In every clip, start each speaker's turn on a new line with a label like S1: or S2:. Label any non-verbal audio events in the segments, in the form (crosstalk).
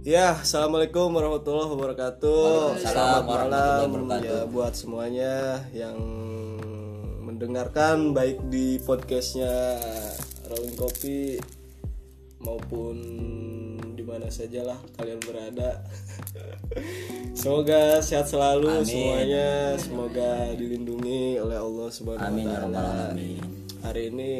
S1: Ya, assalamualaikum warahmatullahi wabarakatuh.
S2: Waalaikumsalam
S1: Selamat
S2: warahmatullahi
S1: malam
S2: wabarakatuh.
S1: ya buat semuanya yang mendengarkan baik di podcastnya Rawin Kopi maupun di mana sajalah kalian berada. (laughs) Semoga sehat selalu
S2: Amin.
S1: semuanya, semoga dilindungi oleh Allah Subhanahu wa
S2: Amin ya
S1: taala.
S2: rabbal alamin.
S1: Hari ini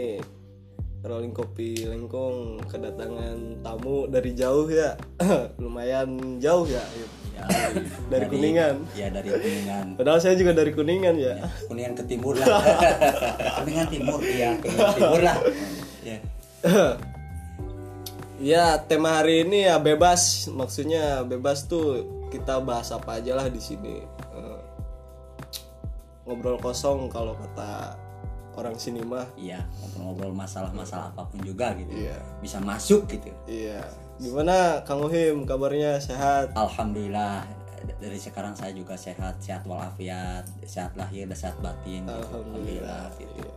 S1: Rolling Kopi Lengkong kedatangan tamu dari jauh ya. (clears throat) Lumayan jauh ya. Yud.
S2: Ya,
S1: Dari Kuningan.
S2: Ya dari Kuningan.
S1: Padahal saya juga dari Kuningan ya.
S2: Kuningan ke timur lah. (laughs) Kuningan timur, iya Kuningan timur lah. Ya.
S1: (clears throat) ya, tema hari ini ya bebas. Maksudnya bebas tuh kita bahas apa aja lah di sini. Eh, Ngobrol kosong kalau kata orang sini mah.
S2: Iya, ngobrol-ngobrol masalah-masalah apapun juga gitu.
S1: Iya.
S2: Bisa masuk gitu.
S1: Iya. Gimana Kang Uhim kabarnya sehat?
S2: Alhamdulillah d- dari sekarang saya juga sehat, sehat walafiat, sehat lahir dan sehat batin. gitu.
S1: Alhamdulillah,
S2: gitu.
S1: iya.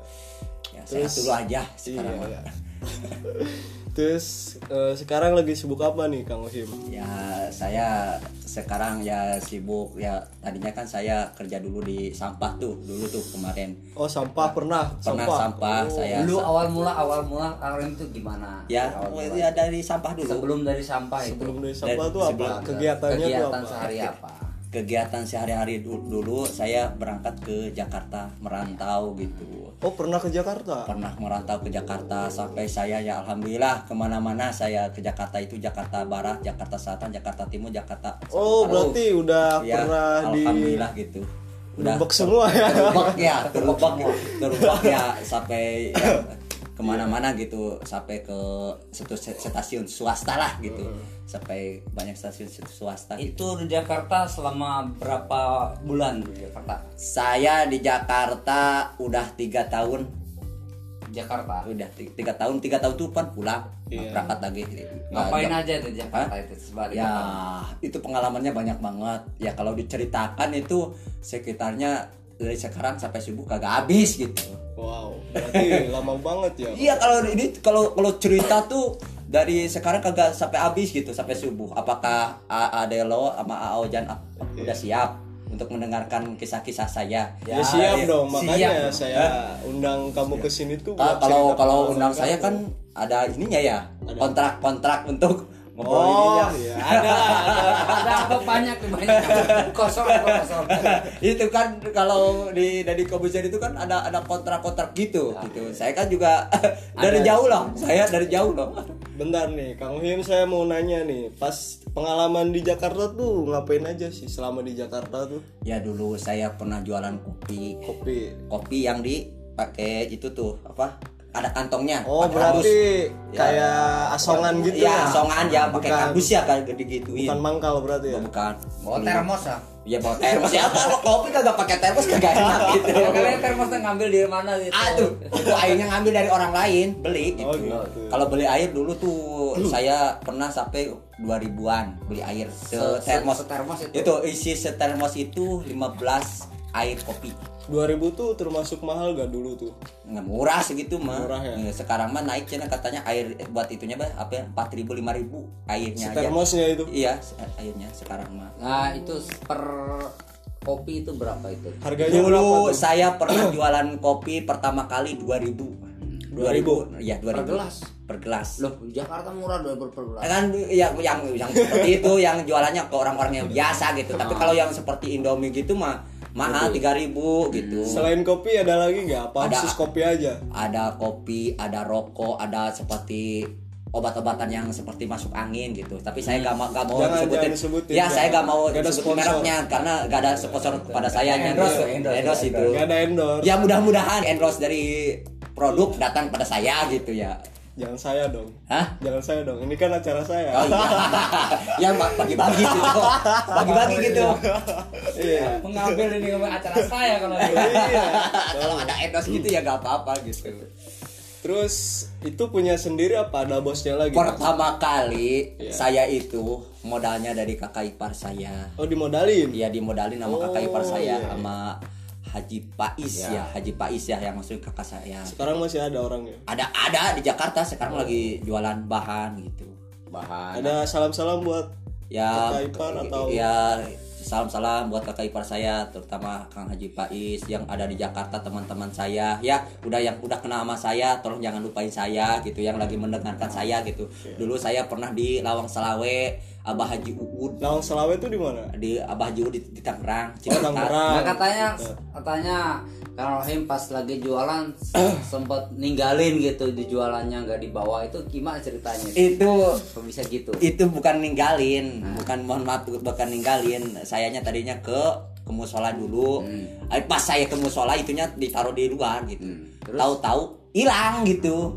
S2: Ya, sehat dulu aja sekarang.
S1: Iya,
S2: mah.
S1: iya. (laughs) Terus eh, sekarang lagi sibuk apa nih Kang Uhim?
S2: Ya saya sekarang ya sibuk ya tadinya kan saya kerja dulu di sampah tuh dulu tuh kemarin
S1: Oh sampah pernah, sampah.
S2: pernah
S1: Oh,
S2: sampah saya
S3: Dulu awal mula awal mula kalian itu gimana?
S2: Iya, ya,
S3: Awal mula.
S2: ya dari sampah dulu
S3: sebelum dari sampah itu.
S1: Sebelum dari sampah
S2: Dan
S1: tuh apa?
S2: sebelum-
S1: Kegiatannya tuh
S3: kegiatan
S1: apa?
S3: sehari apa?
S2: kegiatan sehari-hari du- dulu saya berangkat ke Jakarta merantau gitu
S1: Oh pernah ke Jakarta?
S2: pernah merantau ke Jakarta sampai saya ya alhamdulillah kemana-mana saya ke Jakarta itu Jakarta Barat Jakarta Selatan Jakarta Timur Jakarta
S1: Oh berarti udah
S2: ya,
S1: pernah di
S2: alhamdulillah gitu udah
S1: Lubuk semua
S2: (laughs)
S1: ya?
S2: terubak
S1: (laughs)
S2: ya terubak terubak ya sampai
S1: Iya.
S2: ya, kemana-mana gitu sampai ke satu stasiun swasta lah gitu
S1: Hmm.
S2: sampai banyak stasiun swasta gitu.
S3: Itu di Jakarta selama berapa bulan di Jakarta?
S2: saya di Jakarta udah tiga tahun
S3: Jakarta.
S2: udah ti- tiga tahun tiga tahun tuh kan pulang
S1: Iya.
S2: berangkat lagi Nah,
S3: Ngapain
S2: ja-
S3: aja di Jakarta itu sebaliknya?
S2: ya itu pengalamannya banyak banget ya kalau diceritakan itu sekitarnya dari sekarang sampai subuh kagak habis gitu
S1: Wow berarti lama banget ya?
S2: Iya kalau ini kalau kalau cerita tuh dari sekarang kagak sampai habis gitu sampai subuh. Apakah A- Adelo sama Aojan ap-
S3: Iya.
S2: udah siap untuk mendengarkan kisah-kisah saya?
S1: Ya, siap
S2: iya.
S1: dong makanya
S3: siap.
S1: saya undang kamu ke sini tuh. buat
S2: Ah, kalau
S1: cerita
S2: kalau
S1: pengalaman
S2: undang
S1: kamu.
S2: saya kan ada ininya ya kontrak-kontrak untuk
S1: Oh
S2: ngobrol ininya.
S1: ya ada.
S3: Ada apa banyak banyak kosong apa kosong?
S2: (laughs) itu kan kalau di dari Kobuzer itu kan ada ada kontrak-kontrak gitu
S1: Ya.
S2: gitu. Saya kan juga (laughs) dari jauh loh. Saya dari jauh loh.
S1: Bentar nih, Kang Him saya mau nanya nih, pas pengalaman di Jakarta tuh ngapain aja sih selama di Jakarta tuh?
S2: Ya dulu saya pernah jualan kopi.
S1: Kopi.
S2: kopi yang dipakai itu tuh apa ada kantongnya
S1: Oh
S2: pakai kardus.
S1: berarti
S2: Ya.
S1: kayak asongan gitu
S2: ya
S1: ya?
S2: songan ya pakai
S1: Bukan-
S2: kardus ya kayak digituin
S1: Bukan mangkal berarti ya?
S2: bukan
S3: Bawa termos ah.
S2: ya bawa termos (laughs) ya kalau kopi kagak pakai termos kagak
S1: (laughs)
S2: enak gitu
S3: Ya, kalian termosnya ngambil dari mana gitu?
S2: aduh itu airnya ngambil dari orang lain beli gitu,
S1: Oh, gitu.
S2: kalau beli air dulu tuh saya pernah sampai 2000-an beli air se termos
S3: termos itu.
S2: itu isi setermos itu 15 air kopi
S1: 2000 tuh termasuk mahal gak dulu tuh?
S2: nggak murah segitu mah
S1: Murah ya?
S2: Iya, sekarang mah naik cina katanya air eh, buat itunya bah apa ya empat ribu lima ribu airnya aja
S1: Termosnya itu
S2: Ya, iya se- airnya sekarang mah
S3: Nah itu per kopi itu berapa itu?
S1: harganya berapa
S2: dulu
S1: tuh?
S2: saya pernah jualan kopi pertama kali dua ribu dua ribu ya dua
S3: Per
S2: ribu
S3: gelas.
S2: per gelas
S3: Loh Jakarta murah dua ribu per gelas.
S2: kan yang yang yang seperti itu yang jualannya ke orang-orang yang biasa gitu tapi kalau yang seperti Indomie gitu mah mahal tiga ribu gitu
S1: Selain kopi ada lagi nggak? Apa
S2: Ada.
S1: khusus kopi aja?
S2: ada kopi, ada rokok, ada seperti obat-obatan yang seperti masuk angin gitu. Tapi saya nggak mau nggak mau
S1: Hmm. Jangan-
S2: disebutin.
S1: jangan disebutin,
S2: ya,
S1: jangan.
S2: saya nggak mau
S1: Nggak ada
S2: disebutin
S1: sponsor.
S2: mereknya karena nggak ada sponsor kepada saya endorse,
S3: Endorse, endorse,
S2: endorse itu.
S1: Gak ada endorse
S2: Ya mudah-mudahan endorse dari produk datang pada saya gitu ya.
S1: Jangan saya dong
S2: Hah?
S1: Jangan saya dong, ini kan acara saya
S2: Oh, iya. (laughs) ya ba- bagi-bagi
S1: (laughs)
S2: gitu. Bagi-bagi gitu.
S1: Iya
S3: Mengambil ini acara saya kalau gitu.
S1: Iya.
S2: Kalau ada endorse gitu ya nggak apa-apa gitu.
S1: Terus itu punya sendiri apa ada bosnya lagi?
S2: Pertama kali
S1: Iya.
S2: saya itu modalnya dari kakak ipar saya.
S1: Oh dimodalin?
S2: Iya dimodalin sama kakak
S1: Oh,
S2: ipar saya
S1: iya.
S2: sama Haji Pais ya. Haji Pais ya yang maksud kakak saya.
S1: Sekarang masih ada orangnya
S2: Ada ada di Jakarta sekarang lagi jualan bahan gitu.
S3: Bahan.
S1: Ada salam-salam buat
S2: ya
S1: Kakak ipar atau-
S2: ya salam-salam buat kakak ipar saya terutama Kang Haji Pais yang ada di Jakarta teman-teman saya ya udah yang udah kena sama saya tolong jangan lupain saya gitu yang lagi mendengarkan
S1: Ah,
S2: saya gitu dulu saya pernah di Lawang Selawe Abah Haji Uud
S1: Lawang Selawe itu di mana?
S2: di Abah Haji Uud di, di Tangerang Ciputat
S1: Tangerang.
S3: Nah, katanya
S1: Gitu.
S3: katanya Kang Rohim pas lagi jualan (clears throat) sempat ninggalin gitu di jualannya nggak dibawa itu gimana ceritanya?
S2: itu
S3: Kok bisa gitu?
S2: itu bukan ninggalin
S3: Hmm.
S2: bukan mohon maaf bukan ninggalin sayanya tadinya ke ke musola dulu Eh, pas saya ke musola itunya ditaruh di luar gitu
S3: Hmm. Terus?
S2: tahu-tahu hilang gitu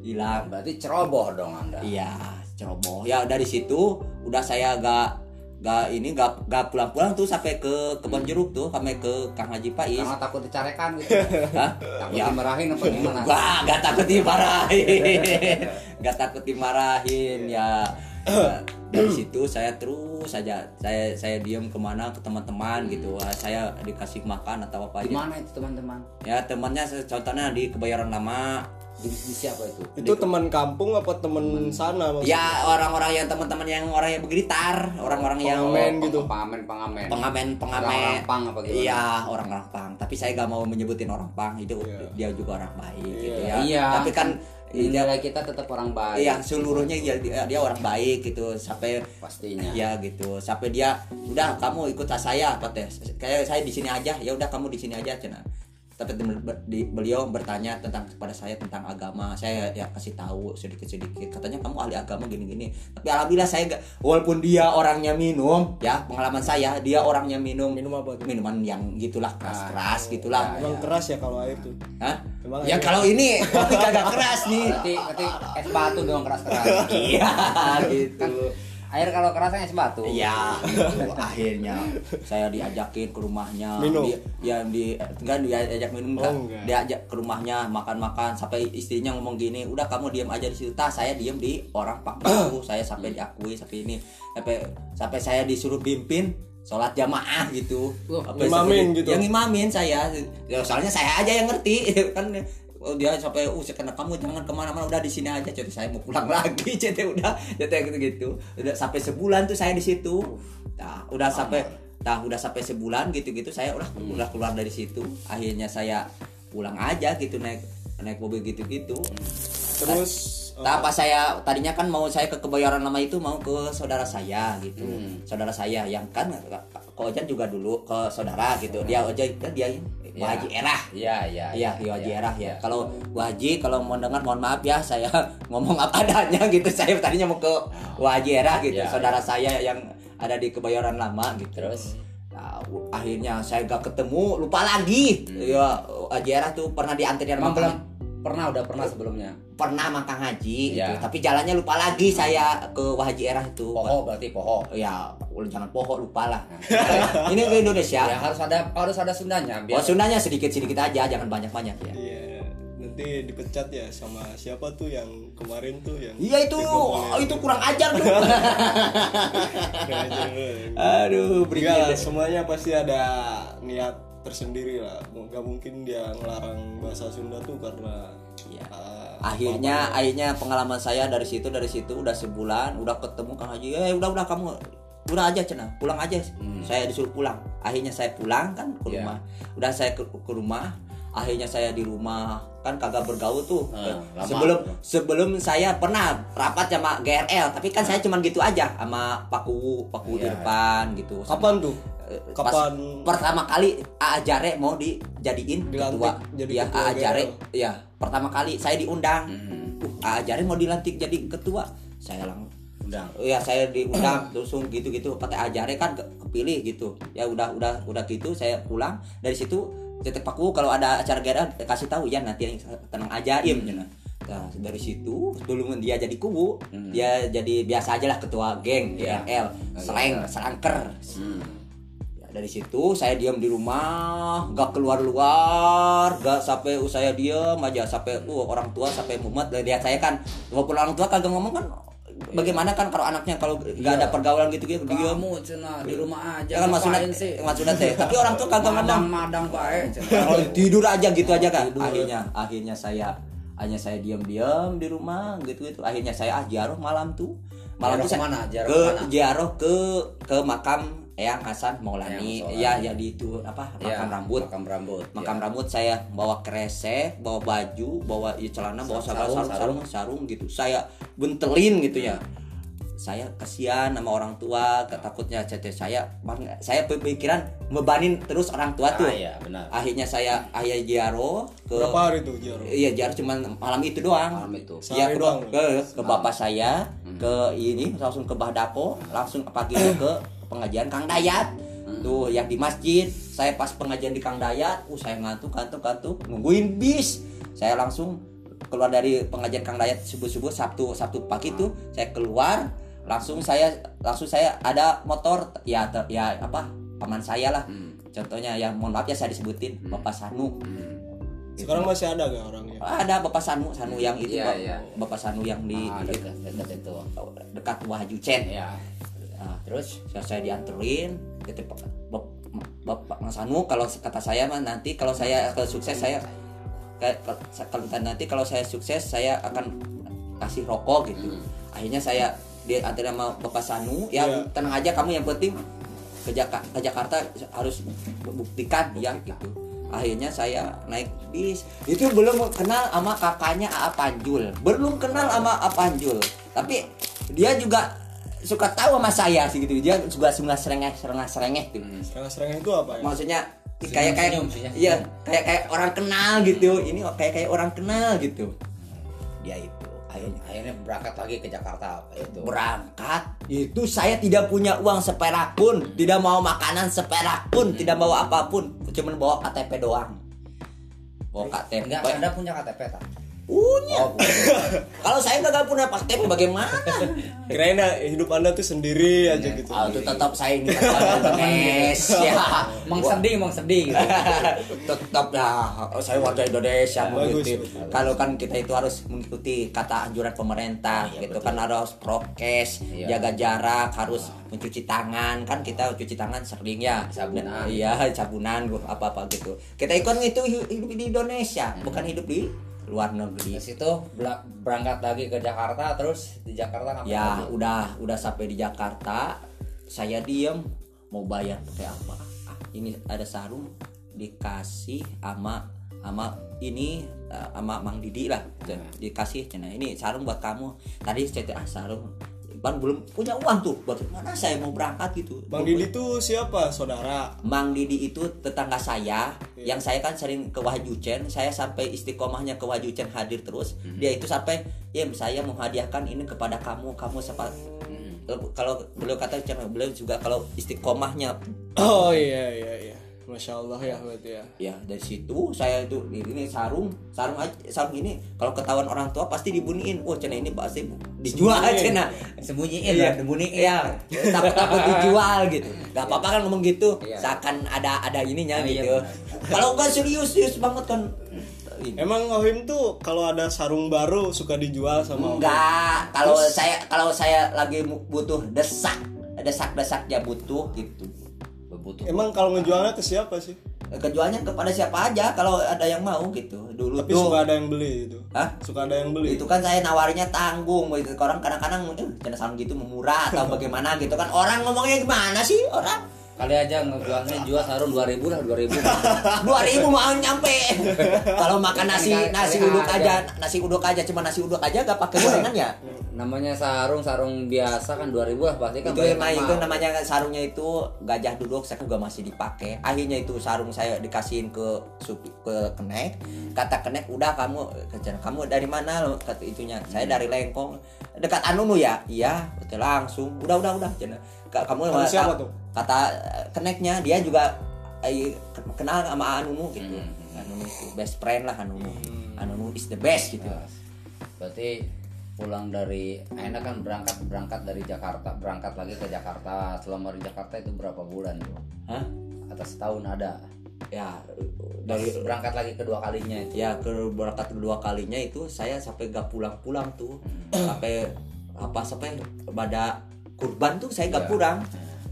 S2: hilang
S3: Nah, Berarti ceroboh dong Anda.
S2: iya ceroboh ya dari situ udah saya gak gak ini gak gak pulang-pulang tuh sampai ke kebon jeruk tuh sampai ke Kang Haji Pais
S3: Karena takut dicarekan gitu.
S2: Hah?
S3: takut
S2: ya
S3: dimarahin apa gimana?
S2: Wah, gak takut
S3: (laughs)
S2: dimarahin. gak takut dimarahin ya. Nah, Dari situ saya terus saja saya saya diam kemana ke teman-teman gitu.
S3: Hmm.
S2: Wah, Saya dikasih makan atau apa
S3: Di
S2: aja.
S3: mana itu teman-teman?
S2: Ya temannya se- contohnya di kebayoran lama.
S3: Di, di siapa itu?
S1: Itu teman kampung apa teman sana
S3: Oh,
S1: maksudnya?
S2: Ya orang-orang yang teman-teman yang orang yang bergitar, orang-orang yang
S1: Pengamen gitu.
S3: Pengamen, pengamen.
S2: pengamen
S3: Oh, iya. Orang-orang gitu kan.
S2: pengamen.
S3: pang apa gimana?
S2: Iya orang orang pang. Tapi saya gak mau menyebutin orang pang itu
S1: Iya.
S2: dia juga orang baik gitu
S3: Iya.
S2: ya. Tapi kan
S3: nilai kita tetap orang baik.
S2: Iya seluruhnya ya dia, dia orang baik gitu sampai
S3: pastinya.
S2: ya gitu sampai dia udah kamu ikut saya katanya kayak saya di sini aja ya udah kamu di sini aja cina tapi tem- ber- di- beliau bertanya tentang kepada saya tentang agama saya ya kasih tahu sedikit sedikit katanya kamu ahli agama gini gini tapi alhamdulillah saya gak, walaupun dia orangnya minum ya pengalaman saya dia orangnya minum
S1: Minum apa tuh?
S2: minuman yang gitulah keras keras gitulah
S1: Emang keras ya kalau air tuh.
S2: Hah?
S1: Emang ada-
S2: ya kalau ini (laughs) kopi kagak keras nih
S3: Berarti berarti es batu dong keras-keras.
S2: iya gitu
S3: Air kalau kerasnya es batu.
S2: Iya, gitu. akhirnya saya diajakin ke rumahnya.
S1: Minum?
S2: Di, ya di enggak diajak minum enggak.
S1: Oh, enggak.
S2: Diajak ke rumahnya makan-makan sampai istrinya ngomong gini, "Udah kamu diam aja di situ." Tah, saya diam di orang Pak
S1: (clears throat)
S2: Prabu. saya sampai diakui sampai ini sampai sampai saya disuruh pimpin sholat jamaah gitu.
S3: Wah,
S2: Sampai
S1: ngimamin
S2: sampai-
S1: gitu.
S2: Yang ngimamin saya. Ya, soalnya saya aja yang ngerti (laughs) kan oh, dia sampai uh karena kamu jangan kemana-mana udah di sini aja cuy saya mau pulang (laughs) lagi cuy udah cuy gitu gitu udah sampai sebulan tuh saya di situ nah, udah sampai nah, udah sampai sebulan gitu gitu saya udah udah keluar dari situ akhirnya saya pulang aja gitu naik naik mobil gitu gitu
S1: Terus oh,
S2: Nah, pas saya tadinya kan mau saya ke kebayoran lama itu mau ke saudara saya gitu.
S3: Hmm.
S2: Saudara saya yang kan ke Ojan juga dulu ke saudara gitu. Dia Ojan dia
S3: Ya.
S2: Haji Erah.
S3: Iya, iya.
S2: Iya, Yo Haji Erah ya. Kalau Waji kalau mau dengar mohon maaf ya saya (laughs) ngomong apa adanya gitu. (laughs) Saya tadinya mau ke Waji Erah gitu.
S3: Ya,
S2: saudara saya yang ada di kebayoran lama gitu. Terus Nah, u- akhirnya saya gak ketemu, lupa lagi. Ya, Haji Erah tuh pernah diantrian sama
S3: Emang Hmm. belum pernah udah pernah sebelumnya.
S2: pernah makan haji gitu
S3: Iya.
S2: tapi jalannya lupa lagi saya ke Haji Erah itu
S3: Poho berarti poho.
S2: ya jangan pohon lupa lah (laughs) ini ke Indonesia
S3: Ya harus ada harus ada Sundanya biar
S2: Iya. Oh, Sundanya sedikit-sedikit aja, jangan banyak-banyak ya.
S1: Iya, nanti dipecat ya sama siapa tuh yang kemarin tuh yang
S2: Iya itu,
S1: digombolin.
S2: itu kurang ajar
S3: (laughs)
S2: tuh.
S1: Kurang ajar lu.
S2: (laughs) Aduh,
S1: Iya. Enggak lah,
S2: brigade.
S1: semuanya pasti ada niat tersendiri lah. Mau- Nggak mungkin dia ngelarang bahasa Sunda tuh karena
S2: Iya.
S1: ah,
S2: akhirnya akhirnya pengalaman saya dari situ dari situ udah sebulan udah ketemu kang haji eh udah udah kamu udah aja cina pulang aja
S1: Hmm.
S2: saya disuruh pulang akhirnya saya pulang kan ke
S3: Iya.
S2: rumah udah saya ke, ke rumah akhirnya saya di rumah kan kagak bergaul tuh
S3: Ah, lama.
S2: sebelum sebelum saya pernah rapat sama GRL tapi
S1: Ah.
S2: kan saya cuman gitu aja sama paku paku di
S3: Iya.
S2: depan gitu Sama-
S1: kapan tuh?
S2: Eh,
S1: Kapan
S2: pas pertama kali AA Jare mau dijadiin
S1: Dilantik
S2: ketua
S1: jadi
S2: ya
S1: ketua
S2: AA Jare
S1: GRL.
S2: ya pertama kali saya diundang
S3: Hmm.
S2: uh AA Jare mau dilantik jadi ketua saya lang
S3: undang.
S2: ya saya diundang
S3: (clears throat)
S2: langsung gitu-gitu pakai AA Jare kan ke- kepilih gitu ya udah udah udah gitu saya pulang dari situ tetep aku kalau ada acara gara kasih tahu ya nanti tenang aja
S3: Hmm.
S2: im Cina. Nah, dari situ sebelum dia jadi kubu dia jadi biasa aja lah ketua geng
S3: Hmm. Iya. Hmm.
S2: GRL seleng selangker Ya, dari situ saya diam di rumah, gak keluar-luar, gak sampai uh, saya diam aja sampai uh, orang tua sampai mumet dari lihat saya kan walaupun orang tua kagak ngomong kan bagaimana kan kalau anaknya kalau gak ada pergaulan gitu gitu diam
S3: Kamu Iya, cina di rumah aja.
S2: ya kan maksudnya
S3: ngapain sih?
S2: maksudnya teh eh, tapi orang tua kagak ngomong (laughs) Oh, iya.
S3: Madang madang baik.
S2: kalau tidur aja gitu aja kan akhirnya akhirnya saya hanya saya diam-diam di rumah gitu gitu akhirnya saya ah ziarah malam tuh malam
S3: Malah
S2: tuh saya
S3: kemana? Jarak
S2: ke
S3: mana?
S2: ziarah ke ke makam Eyang Hasan Maulani
S3: Eyang Hasan.
S2: ya jadi itu apa
S3: Ya,
S2: makam rambut
S3: Makam rambut.
S2: makam
S3: ya.
S2: rambut saya bawa kresek bawa baju bawa ya, celana bawa
S3: Sa-
S2: sarung
S3: sarung, Hmm.
S2: sarung, sarung sarung gitu saya bentelin gitu ya saya kasihan sama orang tua takutnya cete saya saya pemikiran bebanin terus orang tua tuh
S3: Ah, iya, benar.
S2: akhirnya saya ayah Jaro ke
S1: berapa hari tuh Jaro
S2: iya Jaro cuman malam itu doang
S3: Malam itu.
S1: Sehari
S2: Iya, ke,
S1: doang.
S2: ke, ke bapak saya,
S3: Hmm.
S2: ke ini langsung ke Bahdako, langsung pagi ke pengajian Kang Dayat.
S3: Hmm.
S2: Tuh yang di masjid, saya pas pengajian di Kang Dayat, uh saya ngantuk, ngantuk, ngantuk, nungguin bis. Saya langsung keluar dari pengajian Kang Dayat subuh-subuh Sabtu Sabtu pagi tuh saya keluar langsung saya langsung saya ada motor ya ter- ya apa paman saya lah
S3: Hmm.
S2: contohnya ya mohon maaf ya saya disebutin bapak Sanu
S3: Hmm.
S1: sekarang masih ada gak orangnya
S2: ada bapak Sanu Sanu yang itu
S3: Iya,
S2: Bap-
S3: iya.
S2: bapak Sanu yang di
S3: Ah, dekat, dekat itu.
S2: dekat Wahyu Chen
S3: Ya.
S2: Nah,
S3: Terus
S2: saya, saya dianterin gitu Pak- Bap- Bapak Mas Anu kalau kata saya mah nanti kalau saya kalau sukses saya kayak- kalau nanti kalau saya sukses saya akan kasih rokok gitu. Akhirnya saya dianterin sama Bapak Sanu ya
S1: Iya.
S2: tenang aja kamu yang penting ke, Jaka- ke Jakarta harus buktikan ya gitu. Akhirnya saya naik bis. Itu belum kenal sama kakaknya A Panjul. Belum kenal sama A Panjul. Tapi dia juga suka tahu sama saya sih gitu. Dia juga suka serengeh serengeh serengeh gitu.
S1: sekarang serangnya itu apa ya
S2: Maksudnya kayak kayak
S3: Senyum, ya. senyum.
S2: iya kayak kayak orang kenal gitu. Ini kayak kayak orang kenal gitu. Dia itu akhirnya
S3: akhirnya berangkat lagi ke Jakarta itu.
S2: berangkat itu saya tidak punya uang seperak pun tidak mau makanan seperak pun
S3: Hmm.
S2: tidak bawa apapun cuman bawa KTP doang bawa KTP
S3: Enggak, Anda punya KTP tak?
S2: punya
S3: Oh,
S2: (laughs) kalau saya nggak punya KTP bagaimana
S1: kirain ah, hidup anda tuh sendiri aja gitu
S2: Ah, itu tetap saya ini warga
S1: (laughs)
S2: Indonesia
S3: mang sedih, mang sedih. Gitu.
S2: tetap ya saya warga Indonesia
S1: Bagus,
S2: mengikuti
S1: bagus.
S2: kalau kan kita itu harus mengikuti kata anjuran
S1: Oh,
S2: pemerintah
S1: iya,
S2: gitu kan harus prokes
S3: Iya.
S2: jaga jarak harus
S1: Ah.
S2: mencuci tangan kan kita cuci tangan sering ya
S3: Sabunan.
S2: iya (laughs) sabunan apa apa gitu kita ikut itu hi- hidup di Indonesia
S1: Hmm.
S2: bukan hidup di luar negeri
S3: Terus itu bela- berangkat lagi ke Jakarta, terus di Jakarta ngapain?
S2: ya
S3: lagi?
S2: udah udah sampai di Jakarta saya diem mau bayar pakai apa Ah, ini ada sarung dikasih ama ama ini eh, ama Mang Didi lah Tuh, dikasih cina ini sarung buat kamu tadi cetek ah sarung Bang belum punya uang tuh bagaimana saya mau berangkat gitu
S1: Bang Didi tuh siapa saudara (clears throat)
S2: Mang Didi itu tetangga saya yang saya kan sering ke Wahyu Chen saya sampai istiqomahnya ke Wahyu Chen hadir terus dia itu sampai ya saya menghadiahkan ini kepada kamu kamu sempat Eh, kalau beliau kata Chen beliau juga kalau istiqomahnya
S1: oh iya iya iya masya Allah ya berarti ya
S2: ya dari situ saya itu ini sarung sarung aja, sarung ini kalau ketahuan orang tua pasti dibuniin oh Chen ini pasti dijual
S1: Sembunyiin.
S2: Chen
S3: sembunyiin
S2: Iya.
S3: lah, sembunyiin.
S2: Iya, takut takut dijual gitu. Gak apa-apa kan ngomong gitu,
S3: Iya.
S2: seakan ada ada ininya
S3: Ah, iya,
S2: gitu. Kalau enggak serius serius banget kan. Ini.
S1: emang Ohim tuh kalau ada sarung baru suka dijual sama Ohim?
S2: Enggak, kalau saya kalau saya lagi mu- butuh desak, desak-desaknya butuh gitu.
S3: Butuh.
S1: emang kalau ngejualnya ke siapa sih
S2: Kejualnya kepada siapa aja kalau ada yang mau gitu. Dulu
S1: tapi
S2: tuh
S1: suka ada yang beli itu
S2: Hah?
S1: suka ada yang beli
S2: itu kan saya nawarnya tanggung gitu orang kadang-kadang eh, canda sarung gitu murah
S1: (laughs)
S2: atau bagaimana gitu kan orang ngomongnya gimana sih orang
S3: Kali aja ngejualnya jual sarung 2000 lah,
S2: (laughs)
S3: 2000.
S2: dua ribu mau nyampe
S1: (laughs)
S2: kalau makan nasi
S3: Kali- kali
S2: nasi uduk
S3: aja.
S2: aja nasi uduk aja cuma nasi uduk aja gak pakai gorengan ya
S3: Namanya sarung, sarung biasa kan 2000 lah pasti kan.
S2: itu
S3: banyak
S2: emang
S3: nama.
S2: itu namanya sarungnya itu gajah duduk saya juga masih dipakai akhirnya itu sarung saya dikasihin ke supi- ke kenek kata kenek udah kamu kerjaan kamu dari mana lo?" kata itunya saya
S1: Hmm.
S2: dari lengkong dekat anunu ya iya betul langsung udah udah udah Cen. Ka- kamu
S1: Kamu siapa
S2: kata-
S1: tuh?
S2: kata eh, keneknya dia juga eh, ke- kenal sama anunu gitu
S1: Hmm.
S2: anunu itu best friend lah anunu anunu is the
S1: Ah.
S2: best gitu
S3: Nah, Berarti pulang dari enak kan berangkat berangkat dari Jakarta, berangkat lagi ke Jakarta. Selama di Jakarta itu berapa bulan tuh?
S2: Hah?
S3: Atas setahun ada.
S2: ya
S3: Dari
S2: dari
S3: berangkat lagi kedua kalinya itu.
S2: ya ke berangkat kedua kalinya itu saya sampai gak pulang-pulang tuh sampai apa sampai pada kurban tuh saya gak
S3: Iya.
S2: pulang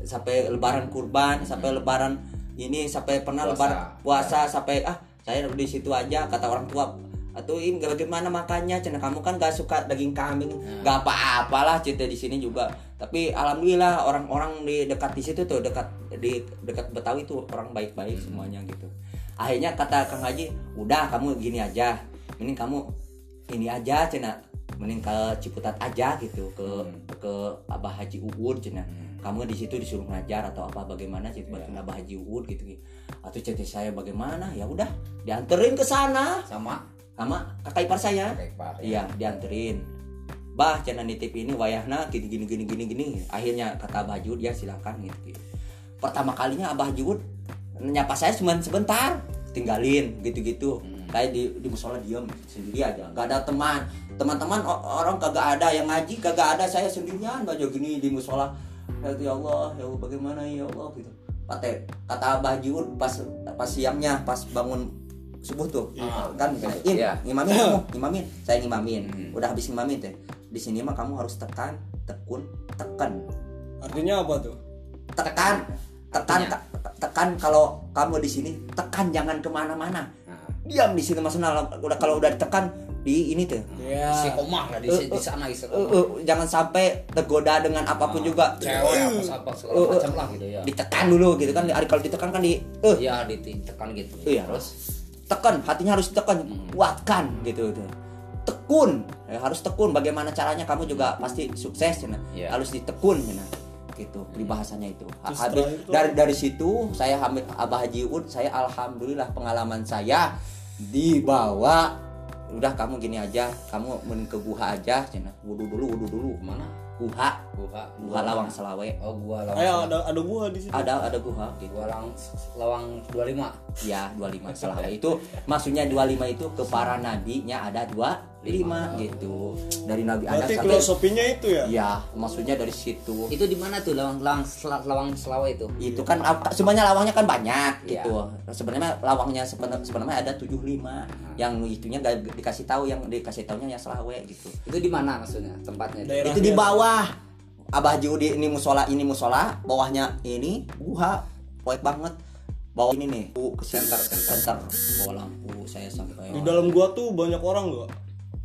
S2: sampai lebaran kurban sampai lebaran ini sampai pernah
S3: Puasa.
S2: lebaran puasa sampai ah saya di situ aja kata orang tua atau im bagaimana makannya cina kamu kan gak suka daging kambing gak apa-apalah cete di sini juga tapi alhamdulillah orang-orang di dekat di situ tuh dekat di dekat Betawi tuh orang baik-baik semuanya gitu akhirnya kata Kang Haji udah kamu gini aja mending kamu ini aja cina mending ke Ciputat aja gitu ke ke Abah Haji Uud cina kamu di situ disuruh ngajar atau apa bagaimana sih bantuin Abah Haji Uud gitu gitu atau cete saya bagaimana ya udah dianterin ke sana
S3: sama
S2: sama kakak ipar saya
S3: kayak Pak
S2: iya dianterin bah cina nitip ini wayahna gini gini gini gini gini akhirnya kata Abah Haji Uud ya silakan gitu, gitu. pertama kalinya Abah Haji Uud nyapa saya cuma sebentar tinggalin gitu-gitu kayak di di musola diam sendiri aja nggak ada teman teman-teman o- orang kagak ada yang ngaji kagak ada saya sendirian aja gini di musola ya tuh, ya Allah ya Allah bagaimana ya Allah gitu kata kata Abah Jiwur pas pas siangnya pas bangun subuh tuh kan im
S3: Iya.
S2: imamin kamu
S3: (laughs)
S2: imamin saya ngimamin
S3: Hmm.
S2: udah habis ngimamin teh di sini mah kamu harus tekan tekun tekan
S1: Artinya apa tuh?
S2: tekan tekan
S3: Artinya?
S2: te- tekan kalau kamu di sini tekan jangan kemana-mana
S3: Nah,
S2: diam di sini maksudnya udah kalau udah ditekan di ini tuh
S1: Ya.
S3: si komang lah di, di sana
S2: Eh,
S3: istilah
S2: eh, jangan sampai tergoda dengan apapun juga
S3: Oh, cewek apa apa segala
S2: Eh, eh.
S3: macam lah gitu ya
S2: ditekan dulu gitu kan Ari, kalau ditekan kan di eh
S3: iya ditekan gitu
S2: Iya.
S3: terus
S2: tekan hatinya harus ditekan kuatkan gitu tuh tekun Ya, harus tekun bagaimana caranya kamu juga pasti sukses ya, nah.
S3: Iya.
S2: harus ditekun ya, nah. gitu peribahasanya itu Ha-
S1: Terus
S2: habis
S1: setelah itu-
S2: dari dari situ saya hamil abah haji ud saya alhamdulillah pengalaman saya dibawa udah kamu gini aja kamu men ke guha aja ya, nah. wudu dulu wudu dulu
S3: kemana
S2: guha
S3: gua
S2: guha lawang selawe
S3: oh gua lawang
S1: Ayo ada ada gua di situ.
S2: ada ada guha gitu
S3: gua lawang lawang 25
S2: Ya 25 selama itu maksudnya 25 itu ke para nabinya ada 25 gitu. Dari nabi Adam
S1: Berarti
S2: sampai
S1: filosofinya itu ya?
S2: ya maksudnya dari situ.
S3: itu di mana tuh lawang lawang sela- lawang selawe itu
S2: Itu kan apa- sebenarnya lawangnya kan banyak
S3: Iya.
S2: gitu. Sebenarnya lawangnya sebenar- sebenarnya ada 75 yang itunya gak dikasih tahu yang dikasih tahunya yang selawe gitu.
S3: itu di mana maksudnya tempatnya itu?
S1: Daerah
S2: Itu di
S1: dia.
S2: bawah Abah Judi ini musola ini musola bawahnya ini guha poek banget bawah ini nih Bu, ke sini.
S3: Center, center.
S2: bawa lampu saya sampai
S1: Di dalam gua tuh banyak orang gak?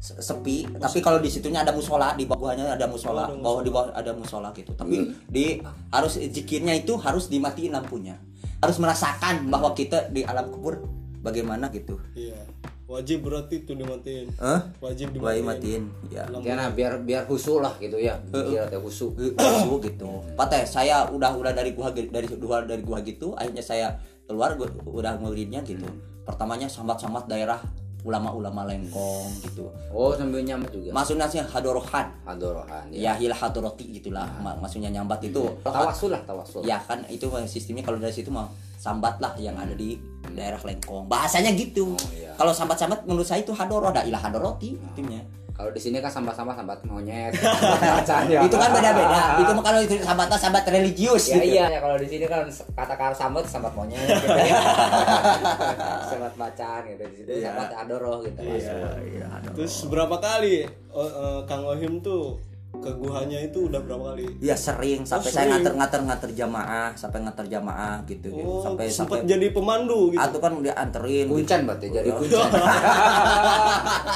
S2: se- sepi tapi kalau di situnya ada musola di bawahnya ada
S1: Oh,
S2: musola
S1: ada
S2: bawah di bawah ada musola gitu tapi di harus zikirnya itu harus dimatiin lampunya harus merasakan bahwa kita di alam kubur bagaimana gitu
S1: Iya. Wajib berarti tuh dimatiin.
S2: eh
S1: Wajib
S2: gua
S1: dimatiin.
S2: matiin ya
S1: Lampu.
S3: Ya, nah, biar biar husu lah gitu ya biar ada husu
S2: Su, gitu patah saya udah udah dari gua dari luar dari gua gitu akhirnya saya keluar gua, udah muridnya gitu pertamanya sambat-sambat daerah ulama-ulama lengkong gitu
S3: oh sambil nyambat juga
S2: maksudnya sih hadorohan
S3: hadorohan ya
S2: ya hilah hadoroti gitulah Ma- maksudnya nyambat itu
S3: tawasul lah tawasul
S2: ya kan itu mah sistemnya kalau dari situ mah sambat lah yang ada di daerah Lengkong bahasanya gitu
S3: Oh, iya.
S2: kalau sambat-sambat menurut saya itu hadoro ada ilah hadoroti itunya
S3: kalau di sini kan sambat-sambat sambat
S2: (laughs)
S3: monyet Bacaan ya.
S2: itu kan beda-beda itu mah kalau itu sambatnya sambat religius
S3: ya
S2: gitu.
S3: iya ya kalau di sini kan kata-kata sambat sambat monyet gitu.
S2: (laughs)
S3: sambat bacaan gitu di sini
S2: Iya.
S3: sambat adoroh gitu
S1: Iya,
S3: masuk.
S1: iya. Terus berapa kali oh, eh, Kang Ohim tuh ke guhanya itu udah berapa kali?
S2: Iya sering
S3: Oh,
S2: sampai saya
S1: sering.
S2: nganter-nganter nganter jamaah sampai nganter jamaah gitu, gitu.
S1: Oh,
S2: sampai sampai
S1: sempat jadi pemandu gitu.
S2: atau kan udah anterin gitu.
S3: kuncan berarti jadi kuncan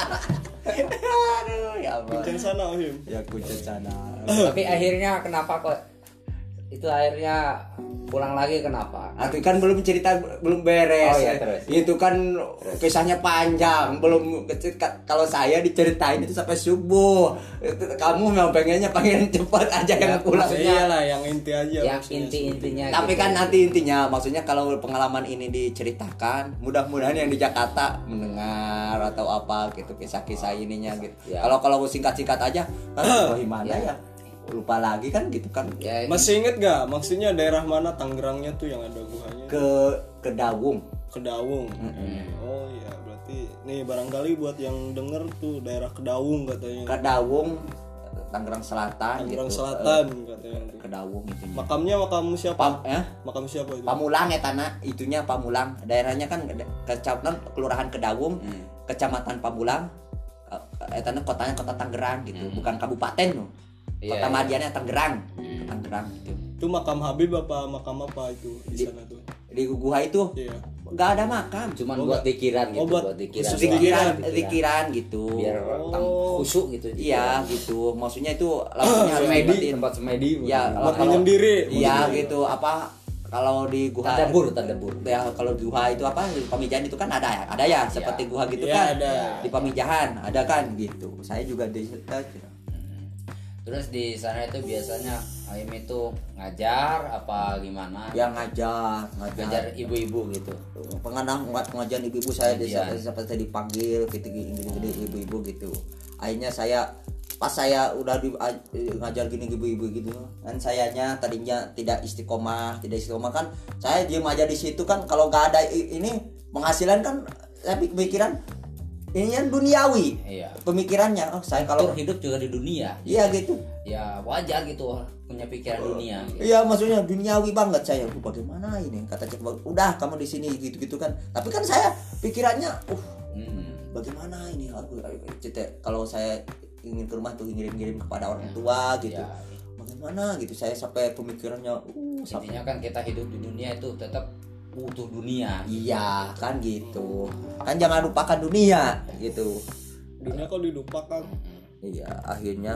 S2: (laughs) aduh ya ampun
S1: Kuncen sana Ohim.
S2: ya kunci sana
S3: tapi akhirnya kenapa kok itu akhirnya pulang lagi kenapa
S2: Atau kan belum cerita belum beres.
S3: Oh, iya, terus.
S2: Itu kan kisahnya panjang, belum ka- kalau saya diceritain itu sampai subuh. Itu, Kamu memang pengennya pengen (laughs) cepat aja yang pulang.
S3: Ya, maksudnya-
S1: Iyalah yang inti aja.
S2: Iya,
S3: yang
S1: maksudnya.
S3: inti-intinya
S2: Tapi
S3: gitu.
S2: kan nanti intinya maksudnya kalau pengalaman ini diceritakan, mudah-mudahan yang di Jakarta mendengar atau apa gitu kisah-kisah ininya gitu.
S3: Ya.
S2: Kalau kalau singkat-singkat aja,
S3: (clears throat)
S2: kan oh, gimana ya?
S3: Ya.
S2: Lupa lagi kan gitu kan
S3: ya,
S1: Masih inget gak maksudnya daerah mana Tangerangnya tuh yang ada guhanya?
S2: ke ke Dawung.
S1: Kedawung. Oh iya, berarti nih barangkali buat yang denger tuh daerah Kedawung katanya.
S2: Ke Dawung Tangerang Selatan
S1: Tangerang
S2: gitu.
S1: Selatan katanya.
S2: ke Dawung itu.
S1: Makamnya makam siapa?
S2: Pam, eh?
S1: Makam siapa itu?
S2: Pamulang ya tanah, itunya Pamulang. Daerahnya kan kecamatan kelurahan Kedawung, kecamatan Pamulang. Eh tanah kotanya kota Tangerang gitu, bukan kabupaten loh.
S3: Hmm. Iya,
S2: kota
S3: iya. Hmm.
S2: Madiannya Tangerang, Tangerang gitu.
S1: Itu makam Habib apa makam apa itu di sana tuh?
S2: Di Guha itu
S1: Iya.
S2: nggak ada makam
S3: Cuman
S1: Oh,
S3: buat
S1: nggak.
S3: pikiran gitu,
S1: Oh, buat
S3: buat pikiran.
S1: khusus
S3: doang.
S2: pikiran
S1: pikiran.
S2: pikiran gitu
S3: Biar tam- khusuk gitu.
S2: iya gitu maksudnya itu lampunya harus
S3: Semedi,
S2: dimatiin.
S3: tempat semedi.
S2: Iya,
S1: Buat
S2: kalau-
S1: menyendiri.
S2: iya gitu apa kalau di gua
S3: Tadabur, tadabur.
S2: ya kalau di gua itu apa di pamijahan itu kan ada ya ada ya seperti gua gitu
S1: Iya,
S2: kan
S1: ada.
S2: di pamijahan ada kan gitu saya juga di eh,
S3: Terus di sana itu biasanya Aim itu ngajar apa gimana?
S2: yang ngajar ngajar
S3: Ngajar ibu-ibu gitu.
S2: pengadang pengajian ibu-ibu saya di
S3: Pengajian.
S2: seperti dipanggil gitu gini-gini ibu-ibu gitu akhirnya saya pas saya udah di, a- ngajar gini ibu-ibu gitu kan sayanya tadinya tidak istiqomah tidak istiqomah kan saya diem aja di situ kan kalau nggak ada i- ini penghasilan kan saya pikiran ini kan duniawi
S3: Iya.
S2: pemikirannya oh saya
S3: Kalau
S2: kalau
S3: hidup juga di dunia.
S2: iya gitu
S3: Ya wajar gitu punya pikiran dunia. gitu.
S2: Iya maksudnya duniawi banget saya. Aduh, bagaimana ini? Kata Cek Bang, udah kamu di sini gitu-gitu kan. Tapi kan saya pikirannya, uh
S3: Hmm.
S2: bagaimana ini? Aku Cete, kalau saya ingin ke rumah tuh ngirim-ngirim kepada orang tua gitu.
S3: Ya,
S2: Bagaimana gitu? Saya sampai pemikirannya, uh sampai
S3: intinya kan kita hidup di dunia itu tetap butuh dunia.
S2: Iya kan gitu. Kan jangan lupakan dunia gitu.
S1: dunia kok dilupakan
S2: Iya akhirnya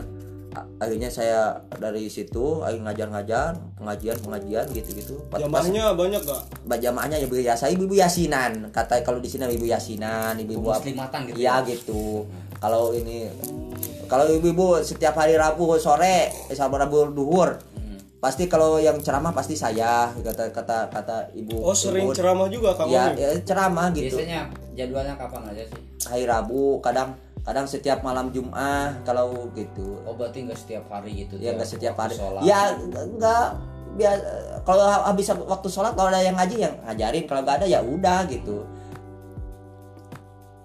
S2: a- akhirnya saya dari situ akhirnya ngajar-ngajar pengajian pengajian gitu-gitu Pas- pas-
S1: jamaahnya banyak gak
S2: jamaahnya ibu biasa ibu-ibu yasinan kata kalau di sini ibu yasinan ibu-ibu apa
S3: Muslimatan gitu.
S2: iya gitu kalau ini kalau ibu-ibu setiap hari Rabu sore eh, sama Rabu duhur
S3: Hmm.
S2: pasti kalau yang ceramah pasti saya kata kata kata ibu
S1: oh sering
S2: Ibu.
S1: ceramah juga kamu
S2: ya,
S1: nih
S2: ya, ceramah gitu
S3: Biasanya jadwalnya kapan aja sih?
S2: hari Rabu kadang kadang setiap malam Jumat kalau gitu
S3: Oh berarti nggak setiap hari gitu?
S2: ya
S3: tiap
S2: nggak setiap hari
S3: waktu sholat.
S2: ya nggak biar kalau habis waktu sholat kalau ada yang ngaji yang ngajarin kalau nggak ada ya udah gitu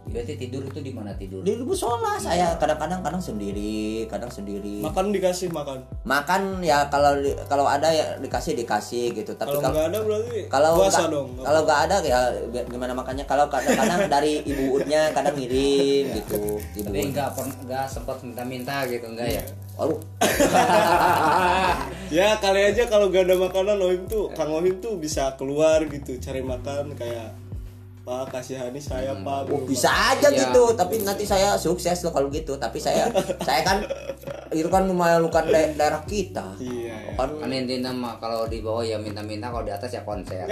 S3: Berarti tidur itu di mana tidur?
S2: di musola saya kadang-kadang kadang sendiri kadang sendiri
S1: makan dikasih makan
S2: makan ya kalau di- kalau ada ya dikasih dikasih gitu tapi
S1: kalau
S2: kalau
S1: nggak ada berarti
S2: kalau
S1: puasa
S2: nggak-
S1: dong
S2: kalau nggak ada ya bi- gimana makannya kalau
S3: (laughs)
S2: kadang-kadang dari ibu utnya kadang ngirim gitu ibu
S3: Tapi nggak pernah nggak sempat minta-minta gitu enggak
S2: Iya.
S3: ya?
S2: Aduh,
S1: ya kali aja kalau gak ada makanan Ohim tuh Kang Ohim tuh bisa keluar gitu cari makan kayak Pak kasihani saya Pak
S2: Oh,
S1: belum
S2: bisa aja
S3: Iya.
S2: gitu tapi nanti saya sukses loh kalau gitu tapi saya saya kan itu kan memalukan da- daerah kita
S1: makan." iya ya.
S2: kan
S3: Kan intinya mah kalau di bawah ya minta-minta, kalau di atas ya konser.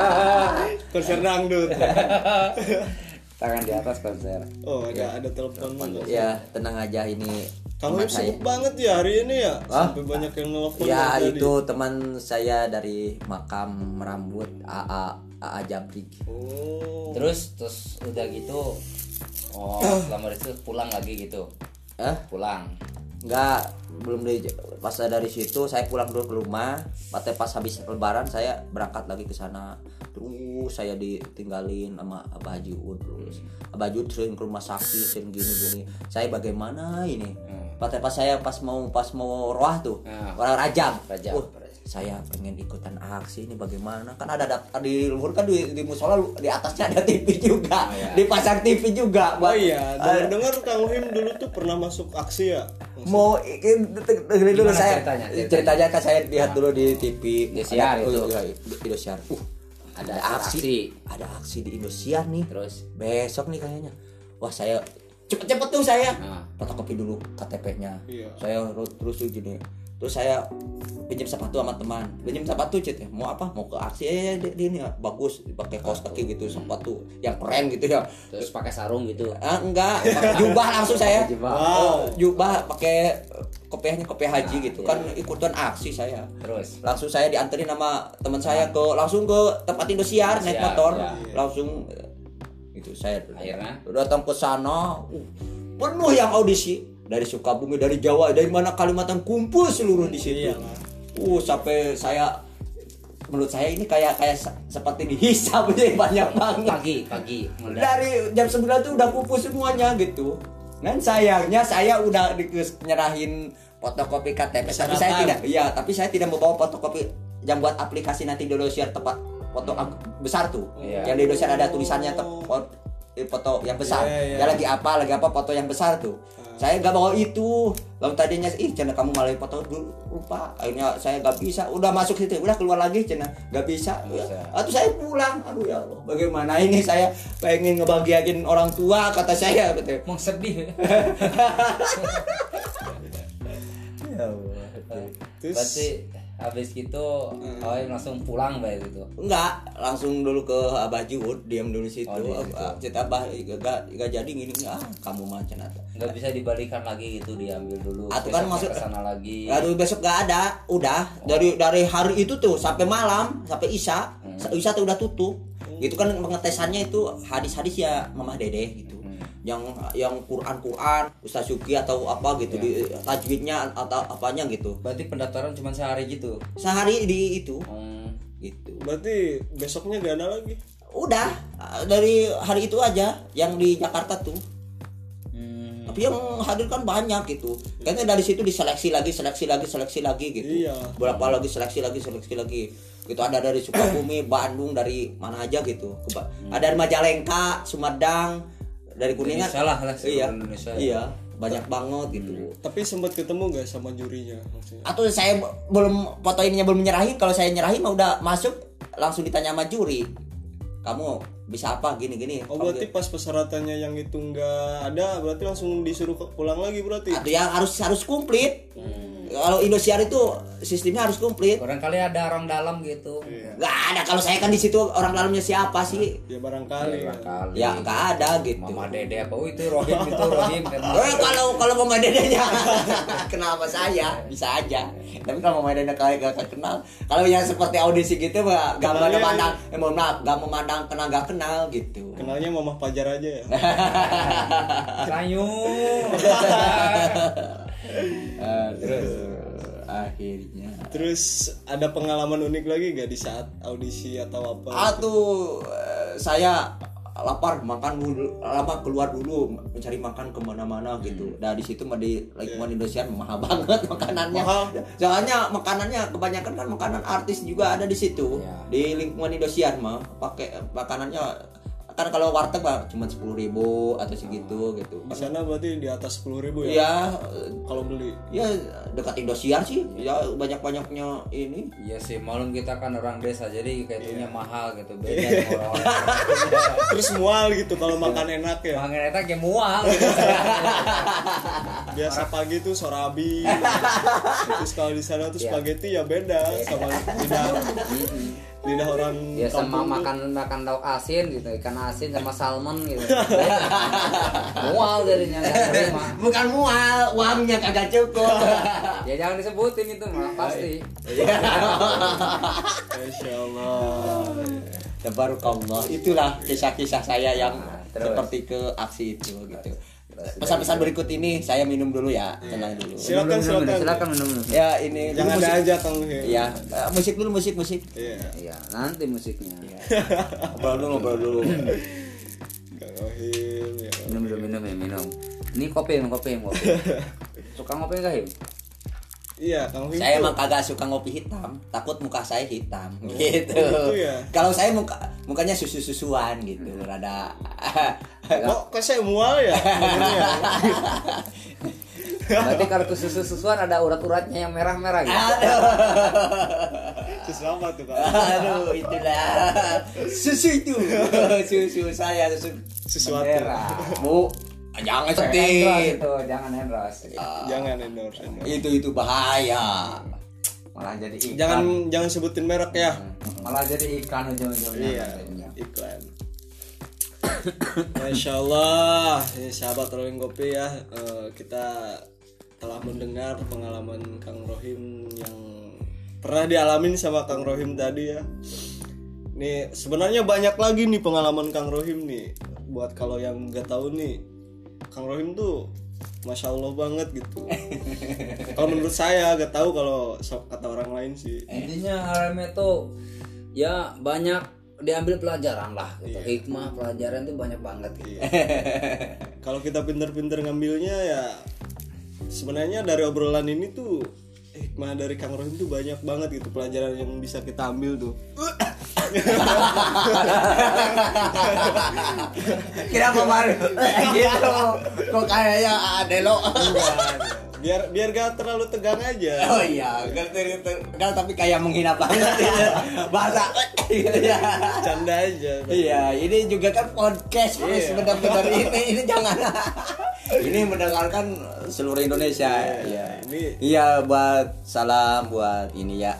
S2: (laughs)
S1: konser dangdut
S2: Ya.
S3: Tangan di atas konser.
S1: oh ada ada telepon juga
S2: ya tenang aja ini
S1: Kang Ohim
S2: teman saya
S1: sibuk banget ya hari ini ya sampai banyak yang nelfon
S2: ya
S1: dari tadi.
S2: itu teman saya dari makam merambut AA AA Jabrik
S1: oh
S3: Terus terus udah gitu,
S2: (clears throat)
S3: oh selama itu pulang lagi gitu,
S2: eh
S3: pulang.
S2: Enggak, belum di pas dari situ saya pulang dulu ke rumah. Pas pas habis lebaran saya berangkat lagi ke sana. Terus saya ditinggalin sama Abah Haji Ud terus. Abah Haji Ud sering ke rumah sakit sering gini gini. Saya bagaimana ini?
S3: Hmm.
S2: Pas pas saya pas mau pas mau roah tuh.
S3: Hmm.
S2: Orang rajab.
S3: Rajab.
S2: Wah, saya pengen ikutan aksi ini bagaimana kan ada daftar di luhur kan di, di musola di atasnya ada TV juga
S3: Oh, iya.
S2: dipasang TV juga
S1: oh
S2: buat-
S1: iya
S2: eh,
S1: dengar dengar Kang Ohim dulu tuh pernah masuk aksi ya
S2: mau ingin dengerin dulu
S3: Iya Gimana
S2: saya
S3: ceritanya?
S2: ceritanya,
S3: Ceritanya.
S2: kan saya lihat dulu di TV
S3: Indosiar
S2: Ada-
S3: itu.
S2: oh, iya, iya, Indosiar uh
S3: Ada
S2: ada,
S3: aksi.
S2: aksi. ada aksi di Indosiar nih
S3: Terus,
S2: besok nih kayaknya wah saya cepet-cepet tuh saya
S3: nah,
S2: fotokopi dulu KTP-nya
S1: Iya.
S2: saya ru- terus tuh gini terus saya pinjam sepatu sama teman pinjam sepatu cet ya mau apa mau ke aksi eh di, di ini ya. bagus pakai kaos kaki gitu sepatu yang keren gitu ya
S3: terus pakai sarung gitu.
S2: ah, enggak pakai jubah langsung saya Oh,
S3: Jebak.
S1: wow
S2: jubah pakai eh, kopiahnya kopiah haji
S3: Nah,
S2: gitu
S3: iya.
S2: kan ikutan aksi saya
S3: Terus,
S2: langsung saya dianterin sama teman saya ke langsung ke tempat Indosiar naik
S3: Indosiar,
S2: motor
S3: iya.
S2: langsung eh, itu saya
S3: Akhirnya?
S2: datang ke sana uh, penuh yang audisi dari Sukabumi dari Jawa dari mana Kalimantan kumpul seluruh di sini
S3: Iya.
S1: Iyalah.
S2: uh sampai saya menurut saya ini kayak kayak se- seperti dihisap (laughs) jadi banyak banget
S3: pagi pagi meledak.
S2: dari jam 9 tuh udah kumpul semuanya gitu dan sayangnya saya udah di- nyerahin fotokopi KTP tapi saya
S1: Persyaratan.
S2: tidak iya tapi saya tidak membawa fotokopi yang buat aplikasi nanti di Indosiar tempat foto ag- besar tuh
S3: Hmm. Iya.
S2: yang di Indosiar ada tulisannya te- fo- eh, foto yang besar
S1: Iya, iya.
S2: ya lagi apa lagi apa foto yang besar tuh
S3: Hmm.
S2: saya nggak bawa itu lalu tadinya ih cina kamu malah foto dulu lupa akhirnya saya nggak bisa udah masuk situ udah keluar lagi cina nggak bisa
S3: Nggak bisa.
S2: atau saya pulang aduh ya Allah bagaimana ini saya pengen ngebahagiain orang tua kata saya gitu
S4: Emang
S2: (laughs) ya
S4: sedih.
S2: Hmm. Allah
S1: Terus?
S3: berarti habis gitu oh langsung pulang kayak gitu
S2: Enggak, langsung dulu ke Abah Juhud, diam dulu situ.
S3: Oh, diam situ.
S2: Abah, cerita Abah enggak enggak jadi gini, ah kamu macam apa.
S3: nggak bisa dibalikan lagi gitu diambil dulu
S2: Ah, itu kan
S3: besoknya
S2: maksud- Ah,
S3: kesana lagi
S2: Lalu besok gak ada, udah dari dari hari itu tuh sampai malam sampai isya,
S3: Hmm.
S2: isya tuh udah tutup. Itu kan pengetesannya itu hadis-hadis ya Mamah Dedeh gitu.
S3: Hmm.
S2: Yang yang Quran-Quran, Ustaz Suki atau apa gitu
S3: Iya.
S2: di tajwidnya atau apanya gitu.
S3: berarti pendaftaran cuma sehari gitu
S2: Sehari di itu
S3: Hmm,
S2: gitu.
S1: Berarti besoknya gak ada lagi.
S2: Udah eh, dari hari itu aja yang di Jakarta tuh.
S3: hmm.
S2: tapi yang hadir kan banyak gitu kayaknya dari situ diseleksi lagi seleksi lagi seleksi lagi gitu
S1: Iya.
S2: berapa lagi seleksi lagi seleksi lagi gitu ada dari
S1: (clears throat)
S2: Sukabumi Bandung dari mana aja gitu Keba-
S1: Hmm.
S2: ada dari Majalengka Sumedang dari Kuningan
S3: Indonesia lah, lah,
S2: iya
S3: seluruh Indonesia.
S2: iya banyak
S1: Hmm.
S2: banget gitu
S1: Tapi sempat ketemu gak sama jurinya maksudnya?
S2: atau saya b- belum foto ininya belum nyerahin kalau saya nyerahin mah udah masuk langsung ditanya sama juri kamu bisa apa gini gini
S1: Oh berarti pas persyaratannya yang itu nggak ada berarti langsung disuruh ke- pulang lagi berarti.
S2: atau Nah, yang harus harus komplit kalau Indosiar itu sistemnya harus komplit
S3: barangkali ada orang dalam gitu
S2: Gak ada kalau saya kan di situ orang dalamnya siapa sih?
S1: Ya barangkali. ya.
S3: Iya, barangkali
S2: Ya nggak ada gitu.
S3: mama dede apa oh, itu rohim itu
S2: (laughs)
S3: rohim
S2: Eh kalau kalau mama dedenya kenapa saya bisa aja. Tapi kalau mama dedenya kalian gak kenal, kalau yang seperti audisi gitu mah gak
S1: Kenalnya-
S2: memandang, eh, mohon maaf, gak memandang kenal gak kenal gitu.
S1: Kenalnya mamah pajar aja ya.
S3: kayu
S2: (laughs) Eh, terus Eh, akhirnya.
S1: Terus ada pengalaman unik lagi gak di saat audisi atau
S2: Ah.
S1: apa?
S2: Aduh, eh, saya lapar makan dulu lapar keluar dulu mencari makan kemana-mana gitu nah di situ mah di lingkungan Indonesia mahal (laughs) banget makanannya
S1: Mahal.
S2: soalnya makanannya kebanyakan kan makanan artis juga ada di situ
S3: Iya.
S2: di lingkungan Indonesia mah pakai eh, makanannya kan kalau warteg mah cuma sepuluh ribu atau segitu gitu
S1: Di sana berarti di atas 10.000 ribu ya?
S2: ya eh,
S1: Kalau beli.
S2: ya dekat Indosiar sih ya banyak-banyaknya ini
S3: Iya sih, malum kita kan orang desa jadi kayak itunya mahal gitu beda sama (laughs) orang-orang.
S1: Terus mual gitu kalau makan enak ya.
S3: Mangan eta kayak mual gitu.
S1: Biasa pagi tuh sorabi. terus kalau di sana tuh
S3: Iya.
S1: spaghetti ya beda sama lidah lidah orang
S3: Ya
S1: kampung
S3: sama
S1: tuh.
S3: makan makan lauk asin gitu, ikan asin sama salmon (laughs) gitu. mual jadinya nggak terima.
S2: bukan mual uangnya kagak cukup (laughs)
S3: Ya jangan disebutin itu mah pasti.
S1: Masya Allah.
S2: Tabarakallah. Itulah kisah-kisah saya yang
S1: Nah,
S3: terus.
S2: seperti ke aksi itu gitu. Pesan-pesan berikut ini saya minum dulu ya, tenang dulu.
S1: Silakan silakan.
S3: Iya. silakan Iya. minum. minum.
S2: Ya ini
S1: Iya. Jangan
S2: dulu
S1: ada
S2: musik.
S1: aja Kang Hil.
S2: Ya, eh, musik dulu musik musik.
S1: Iya.
S3: Iya, nanti musiknya.
S2: Ngobrol dulu ngobrol dulu.
S1: (laughs) Kang Ohil ya.
S3: Minum dulu minum ya minum. Ini kopi, minum kopi, minum (laughs) kopi. Suka ngopi enggak, Him?
S1: Iya, Kang Hil.
S2: saya
S1: tuh.
S2: emang kagak suka ngopi hitam, takut muka saya hitam gitu.
S1: gitu ya.
S2: Kalau saya muka mukanya susu-susuan gitu,
S1: (laughs)
S2: rada
S1: Kok kok saya mual
S3: (laughs)
S1: ya? Ngomongnya.
S3: Berarti kalau kesusu-susuan ada urat-uratnya yang merah-merah gitu.
S1: Terus lama tuh Kang.
S2: Aduh, itulah susu itu, (laughs) susu saya susu
S1: Sesuatu.
S3: (laughs) Merah.
S2: Bu, jangan
S1: kan
S3: Endorse
S2: sedih.
S3: itu, jangan endorse.
S1: Jangan endorse. endorse.
S3: Iya.
S2: Itu itu bahaya.
S3: Malah jadi ikan.
S1: Jangan jangan sebutin merek ya.
S3: malah jadi ikan ujung-ujungnya.
S1: Iya, iklan. (coughs) Masya Allah, ini ya, sahabat rolling kopi ya, eh, kita telah mendengar pengalaman Kang Rohim yang pernah dialamin sama Kang Rohim tadi ya. Nih sebenarnya banyak lagi nih pengalaman Kang Rohim nih. Buat kalau yang nggak tahu nih, Kang Rohim tuh Masya Allah banget (laughs) gitu. kalau menurut saya nggak tahu kalau so- kata orang lain sih.
S3: Intinya HRM itu ya banyak diambil pelajaran lah gitu.
S4: Iya.
S3: Hikmah pelajaran itu banyak banget gitu.
S1: kalau kita pinter-pinter ngambilnya ya sebenarnya dari obrolan ini tuh hikmah dari Kang Rohim tuh banyak banget gitu pelajaran yang bisa kita ambil tuh
S2: Kenapa baru? (laughs) gitu. Kok kayaknya ada lo.
S1: biar biar gak terlalu tegang aja
S2: Oh iya, ngerti Enggak tapi kayak menghina banget ya. Bahasa gitu ya.
S1: canda aja
S2: Iya, ini juga kan podcast Mas,
S1: Iya.
S2: benar-benar ini ini jangan. ini mendengarkan seluruh Indonesia.
S1: Iya,
S2: Iya.
S1: ini-
S2: Iya, buat salam buat ini ya.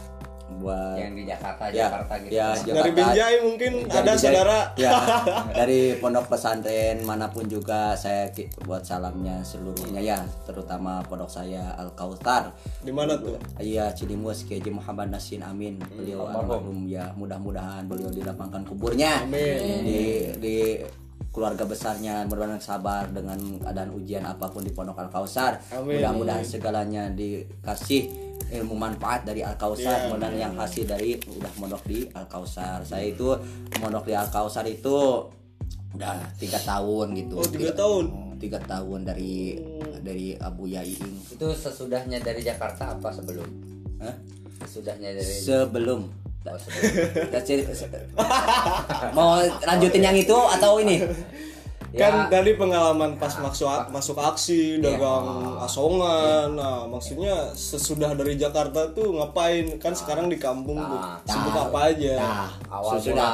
S2: Buat
S3: yang di Jakarta
S2: Ya,
S3: Jakarta gitu
S2: ya,
S3: Bang.
S2: ya.
S1: dari Binjai mungkin
S2: Dari
S1: ada
S2: Binjai-
S1: saudara
S2: ya,
S1: (laughs)
S2: dari pondok pesantren manapun juga saya ki- buat salamnya seluruhnya ya terutama pondok saya Al Kautsar
S1: di mana tuh
S2: Iya Cilimus Kiai Haji Muhammad Nasin Amin beliau almarhum ya mudah-mudahan beliau dilapangkan kuburnya di di keluarga besarnya mudah-mudahan sabar dengan keadaan ujian apapun di Pondok Al Kausar
S1: Amin.
S2: mudah-mudahan segalanya dikasih ilmu manfaat dari Al Kausar mudah-mudahan yang hasil dari udah mondok di Al Kausar saya itu mondok di Al Kausar itu udah tiga tahun gitu
S1: oh tiga tahun
S2: tiga tahun dari dari Abu Yaiing
S3: itu sesudahnya dari Jakarta apa sebelum
S2: Hah?
S3: sesudahnya dari
S2: sebelum
S3: oh, sebelum.
S2: That's it. mau lanjutin yang itu atau ini Ya.
S1: kan dari pengalaman pas masuk masuk aksi
S2: Iya.
S1: dagang asongan nah maksudnya sesudah dari Jakarta tuh ngapain kan sekarang di kampung tuh sibuk apa aja
S2: nah sesudah
S3: awal sudah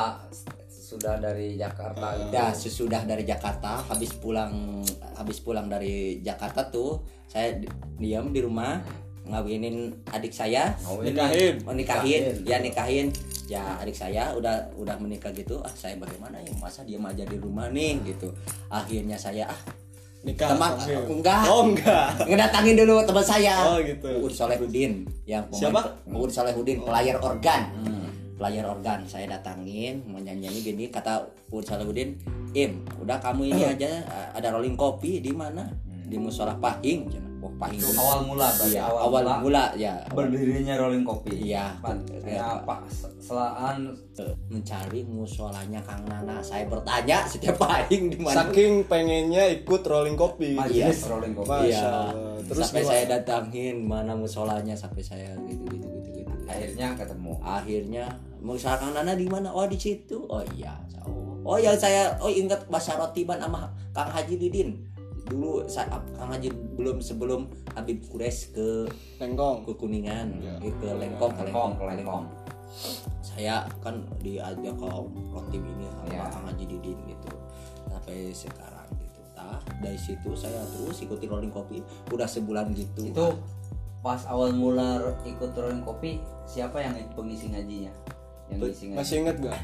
S3: sudah dari Jakarta
S4: Hmm.
S3: gitu.
S2: dah, sesudah dari Jakarta habis pulang habis pulang dari Jakarta tuh saya di- diam di rumah ngawinin adik saya
S1: Nikahin.
S2: mau nikahin ya nikahin ya adik saya udah udah menikah gitu ah saya bagaimana ya masa diam aja di rumah nih gitu akhirnya saya ah
S1: nikah
S2: teman
S1: sambil.
S2: enggak
S1: oh enggak
S2: ngedatangin dulu teman saya
S1: Oh, gitu.
S2: (laughs) Uud Solehudin yang pemain-
S1: Siapa?
S2: Uud Solehudin player
S4: Oh.
S2: organ
S4: Hmm.
S2: player organ saya datangin mau nyanyi nyanyi gini kata Uud Solehudin im udah kamu ini aja ada rolling kopi di mana di
S3: Hmm.
S2: musola Pahing Cina. wah Pahing
S4: Itu awal mula, berarti
S2: Iya,
S4: awal
S2: awal,
S4: mula.
S2: mula ya
S4: berdirinya rolling kopi
S2: Iya.
S4: Karena apa
S3: Iya.
S4: selaan
S2: mencari musolanya Kang Nana saya bertanya setiap Pahing di mana
S1: saking pengennya ikut rolling kopi
S3: Iya.
S4: majelis rolling
S1: Masya
S4: kopi
S2: Iya.
S1: Allah. Terus
S2: sampai
S1: gimana?
S2: saya datangin mana musolanya sampai saya gitu gitu gitu gitu.
S4: akhirnya ketemu
S2: Akhirnya misalkan Nana di mana? Oh di situ. Oh iya. Oh ya saya oh ingat bahasa rotiban sama Kang Haji Didin. Dulu saat Kang Haji belum sebelum Habib Kures ke
S1: tengkong
S2: ke Kuningan,
S4: Iya.
S2: eh, ke Lengkong, ke Lengkong,
S4: Lengkong,
S2: ke Lengkong.
S4: Lengkong.
S2: Saya kan diajak ke Rotim ini sama
S4: Iya.
S2: Kang Haji Didin gitu. Sampai sekarang gitu. Nah, dari situ saya terus ikuti rolling kopi udah sebulan gitu.
S4: itu pas awal mula ro- ikut rolling kopi siapa yang pengisi ngajinya yang ngisi ngaji
S1: masih inget gak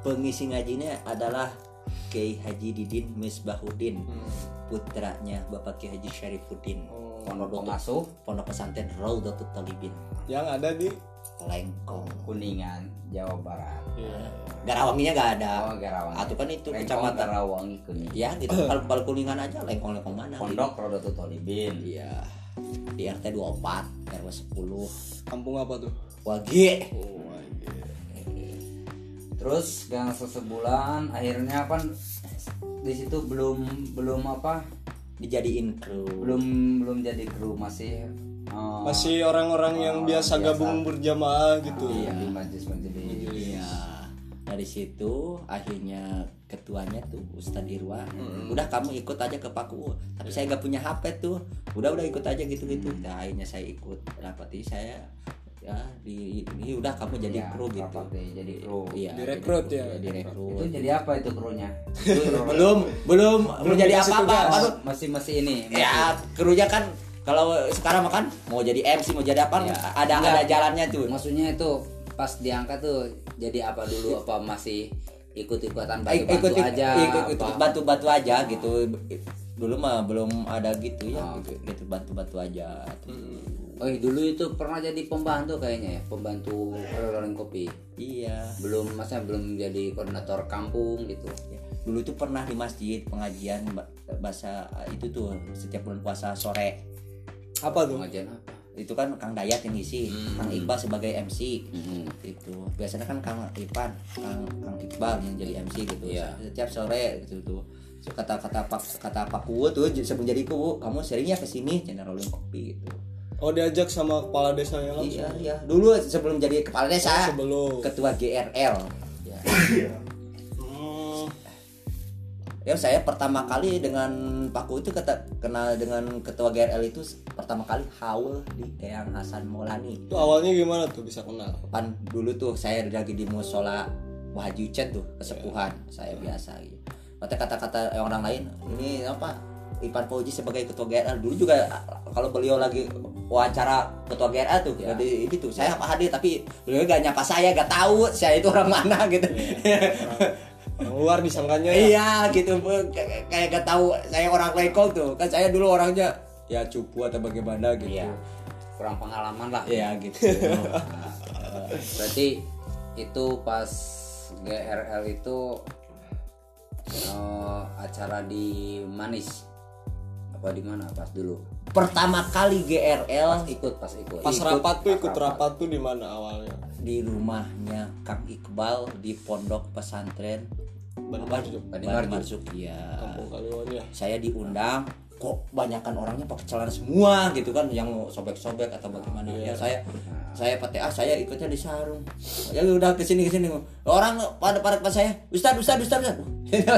S2: pengisi ngajinya adalah Kiai Haji Didin Misbahuddin
S4: Hmm.
S2: putranya Bapak Kiai Haji Syarifuddin
S4: pondok
S2: Pondok
S4: pengasuh
S2: Pondok Pesantren Raudatul Talibin
S1: yang ada di
S2: Lengkong
S4: kuningan jawa barat
S2: Garawanginya gak ada
S4: oh garawang
S2: atau kan itu
S4: Lengkong,
S2: kecamatan
S4: garawangi kuningan
S2: ya
S4: (coughs)
S2: gitu kalau kalau kuningan aja lengkong lengkong mana
S4: pondok rodoto tolibin
S2: gitu. iya di RT 24 RW 10
S1: kampung apa tuh
S2: Wage
S4: Oh. terus gang sesebulan akhirnya kan di situ belum belum apa
S2: dijadiin kru
S4: belum belum jadi kru masih eh,
S2: Ah.
S1: masih orang-orang yang biasa gabung berjamaah gitu
S4: iya, di majelis majelis
S2: Iya. Dari situ akhirnya ketuanya tuh Ustadz Irwan. Udah kamu ikut aja ke
S1: Ya.
S2: Paku. Tapi saya nggak punya HP tuh. Udah udah ikut aja gitu-gitu.
S1: Mm.
S2: Nah, akhirnya saya ikut rapati saya ya di ini udah kamu jadi
S4: Iya,
S2: kru gitu.
S4: rapat deh, jadi kru.
S2: Iya.
S1: Direkrut
S2: jadi kru,
S1: ya?
S2: direkrut.
S4: itu jadi apa itu krunya
S2: belum belum belum jadi
S1: dikasih
S2: apa-apa.
S1: tugas.
S2: Baru
S4: masih masih ini masih-
S2: ya krunya kan kalau sekarang makan mau jadi MC mau jadi apa
S4: Ya.
S2: ada ada
S4: Enggak.
S2: jalannya tuh.
S4: maksudnya itu pas diangkat tuh jadi apa dulu apa masih ikut-ikutan
S2: Ik-
S4: bantu-bantu
S2: ikut ikut
S4: aja
S2: ikut,
S4: apa?
S2: ikut bantu bantu aja gitu dulu mah belum ada gitu ya
S4: Ah.
S2: gitu, gitu bantu bantu aja gitu.
S4: oh dulu itu pernah jadi pembantu kayaknya ya pembantu orang kopi
S2: iya
S4: belum masa belum jadi koordinator kampung gitu
S2: ya. dulu tuh pernah di masjid pengajian ba- bahasa ah, itu tuh setiap bulan puasa sore
S1: apa tuh
S4: pengajian apa
S2: itu kan Kang Dayat yang ngisi
S4: Mm.
S2: Kang Iqbal sebagai MC
S4: Mhm.
S2: itu biasanya kan Kang Ipan Kang, Kang Iqbal yang jadi MC gitu
S4: Iya.
S2: setiap sore gitu tuh So, kata kata pak kata pak Kuwu tuh sebelum jadi kuwu kamu seringnya ke sini channel rolling kopi gitu
S1: Oh diajak sama kepala desanya langsung. Oh,
S2: Iya, iya. Dulu sebelum jadi kepala desa,
S1: Sebelum.
S2: ketua GRL. Ya.
S1: Hmm,
S2: Ya, saya pertama kali dengan Paku itu kata, kenal dengan ketua GRL itu s- pertama kali haul di Eyang Hasan Maulani.
S1: itu awalnya gimana tuh bisa kenal?
S2: Pan Kan dulu tuh saya lagi di musola Wahji Ucet tuh kesepuhan saya biasa gitu. Mata kata-kata orang lain ini apa Ipan Fauzi sebagai ketua GRL dulu juga kalau beliau lagi wawancara ketua GRL tuh
S3: Ya.
S2: jadi itu tuh saya apa hadir tapi beliau gak nyapa saya gak tahu saya itu orang mana (laughs) gitu
S1: Orang luar disangkanya ya.
S2: Iya gitu Bu. Kay- kayak gak tahu saya orang Lekol tuh kan saya dulu orangnya ya cupu atau bagaimana gitu.
S3: Iya. Kurang pengalaman lah.
S2: Iya gitu.
S3: Berarti itu pas GRL itu eh, acara di Manis. Apa di mana pas dulu?
S2: Pertama kali GRL
S3: Pas ikut, pas ikut.
S1: Pas
S3: Ikut,
S1: rapat tuh ikut
S3: pas
S1: rapat tuh di mana awalnya?
S2: di rumahnya Kang Iqbal di pondok pesantren
S1: Bandung
S2: apa?
S1: Marjuk.
S2: Bandung
S3: Bandung
S2: Marjuk. Iya.
S1: Kampung Kliwon ya.
S2: Saya diundang kok banyakan orangnya pakai celana semua gitu kan yang sobek-sobek atau bagaimana
S1: Iya.
S2: ya saya saya PTA saya ikutnya di sarung ya udah ke sini ke sini orang pada pada pas saya ustad ustad ustad ustad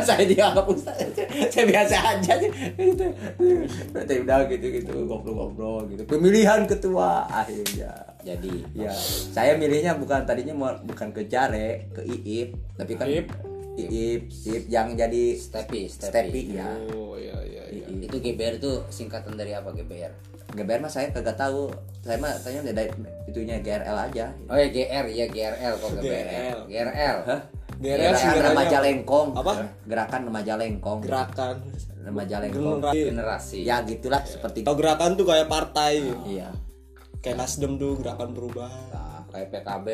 S2: (laughs) saya dianggap ustad (laughs) saya biasa aja gitu Berarti udah gitu gitu ngobrol-ngobrol gitu pemilihan ketua akhirnya
S3: Jadi
S2: Ya, saya milihnya bukan tadinya mau bukan ke Jare, ke Iip, tapi kan
S1: Iip.
S2: Iip, Iip, yang jadi
S3: Stepi, Stepi.
S2: Stepi ya.
S1: Oh iya iya iya.
S3: Itu GBR itu singkatan dari apa GBR?
S2: GBR mah saya kagak tahu. Saya mah tanya dari itunya GRL aja.
S3: Oh ya GR ya GRL kok
S1: GRL.
S3: GBR. GRL.
S2: Hah?
S1: GRL
S2: Gerakan
S1: singkatannya
S2: remaja
S1: apa?
S2: lengkong.
S1: Apa?
S2: Gerakan remaja lengkong.
S1: Gerakan.
S2: remaja lengkong.
S1: Generasi.
S3: Generasi.
S2: Ya gitulah seperti
S1: Kalau gerakan tuh kayak partai.
S2: Iya.
S1: Kayak Nasdem tuh gerakan perubahan.
S3: Nah, kayak PKB.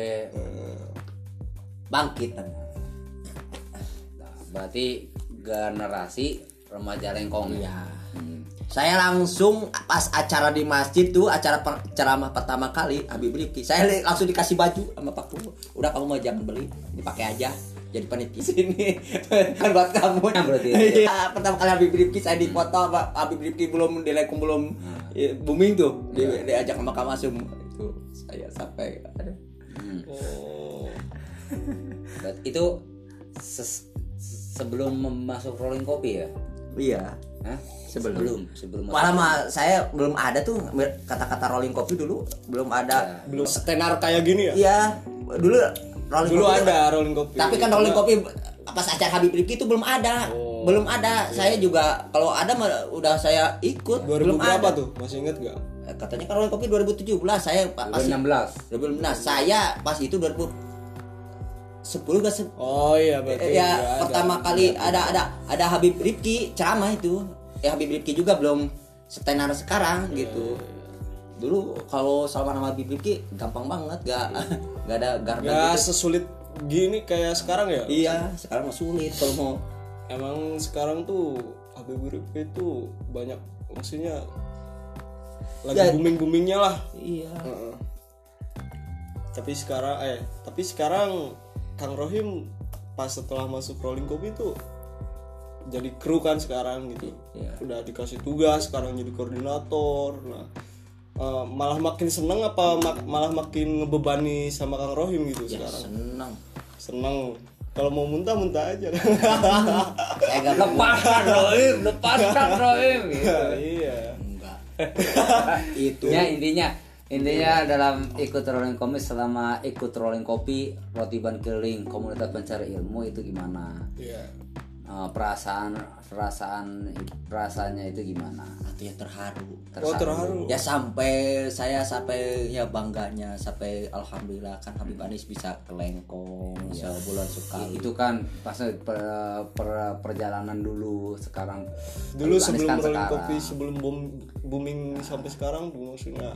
S2: Bangkit.
S3: Nah, berarti generasi remaja lengkong.
S2: Iya.
S3: Hmm.
S2: Saya langsung pas acara di masjid tuh acara per- ceramah pertama kali Habib Rifki. Saya li- langsung dikasih baju sama Pak Pur. Udah kamu mau jangan beli, dipakai aja. Jadi panitia sini (laughs) kan buat kamu
S3: berarti.
S2: (laughs) Iya, pertama kali Habib Rifki saya dipoto Pak Habib Rifki belum dilekum belum eh, booming tuh. Di, diajak sama Kak Masum itu saya sampai aduh.
S3: Hmm.
S1: Oh.
S2: Hmm.
S3: Berarti itu ses- sebelum masuk rolling kopi ya?
S2: Iya.
S3: Hah?
S2: Sebelum.
S3: sebelum, sebelum masuk-
S2: Malah mah saya belum ada tuh kata-kata rolling kopi dulu belum ada.
S1: Belum setenar kayak gini ya?
S2: Iya, dulu rolling
S1: Dulu
S2: kopi
S1: ada rolling kopi.
S2: Tapi kan rolling kopi pas acara Habib Rifki itu belum ada.
S1: Oh,
S2: belum
S1: iya.
S2: ada. Saya juga kalau ada mah udah saya ikut.
S1: 2000
S2: belum
S1: berapa
S2: ada.
S1: tuh? Masih inget gak?
S2: Eh, Katanya kan rolling kopi 2017 saya pa- pas
S3: 2016.
S2: 2016. Nah, Saya pas itu 2010 gak se-
S1: Oh iya berarti. udah
S2: eh, ya
S1: ada.
S2: pertama kali ada ada ada Habib Rifki ceramah itu. Ya Habib Rifki juga belum setenar sekarang
S1: Iya,
S2: gitu. Dulu kalau Salman sama Habib Rifki gampang banget (laughs) gak gak ada garda
S1: Gak
S2: gitu.
S1: sesulit gini kayak sekarang ya?
S2: Iya, sekarang mah sulit kalau mau
S1: Emang sekarang tuh Habib Riffy itu banyak maksudnya lagi
S2: Ya.
S1: booming boomingnya lah.
S2: Iya.
S1: Heeh. Tapi sekarang eh tapi sekarang Kang Rohim pas setelah masuk Rolling Kopi itu jadi kru kan sekarang gitu. Udah dikasih tugas sekarang jadi koordinator. Nah eh, malah makin seneng apa ma- malah makin ngebebani sama Kang Rohim gitu sekarang
S2: Senang.
S1: seneng kalau mau muntah muntah (laughs) aja
S2: Saya gak
S3: lepaskan Roim, lepaskan Roim. Gitu.
S1: iya
S2: enggak. Itu
S3: Ya intinya intinya dalam ikut rolling kopi selama ikut rolling kopi roti ban keliling komunitas pencari ilmu itu gimana
S1: Iya.
S3: Eh, perasaan perasaan perasaannya itu gimana
S2: hati yang terharu.
S1: Oh terharu.
S2: Ya sampai saya sampai ya bangganya sampai alhamdulillah kan Habib Anis bisa ke Lengkong sebulan sekali.
S3: itu kan pas per- per- perjalanan dulu sekarang
S1: Dulu
S3: Anis
S1: sebelum
S3: kan
S1: rolling
S3: sekarang.
S1: kopi sebelum boom- booming sampai sekarang tuh maksudnya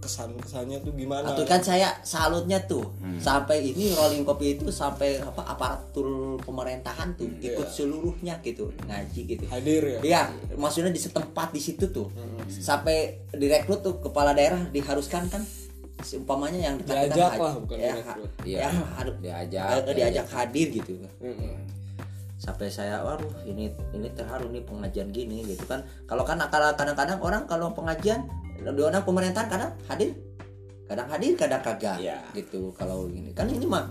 S1: kesan kesannya tuh gimana?
S2: Atau kan saya salutnya tuh sampai ini rolling kopi itu sampai apa aparatur pemerintahan tuh ikut seluruhnya gitu ngaji gitu.
S1: Hadir ya.
S2: Iya, maksudnya di setempat di situ tuh.
S1: Hmm.
S2: Sampai direkrut tuh kepala daerah diharuskan kan seumpamanya yang dekat-dekat
S1: Diajak
S2: hadir.
S1: lah, bukan
S2: ya,
S1: direkrut.
S2: ha-
S3: Iya.
S2: ya, hadir-
S3: Diajak,
S2: eh,
S3: diajak.
S2: diajak, hadir gitu.
S1: Mm-mm.
S2: Sampai saya waduh ini ini terharu nih pengajian gini gitu kan. Kalau kan akal- kadang-kadang orang kalau pengajian undang-undang pemerintahan kadang hadir kadang hadir kadang kagak
S1: Iya.
S2: gitu kalau ini kan ini mah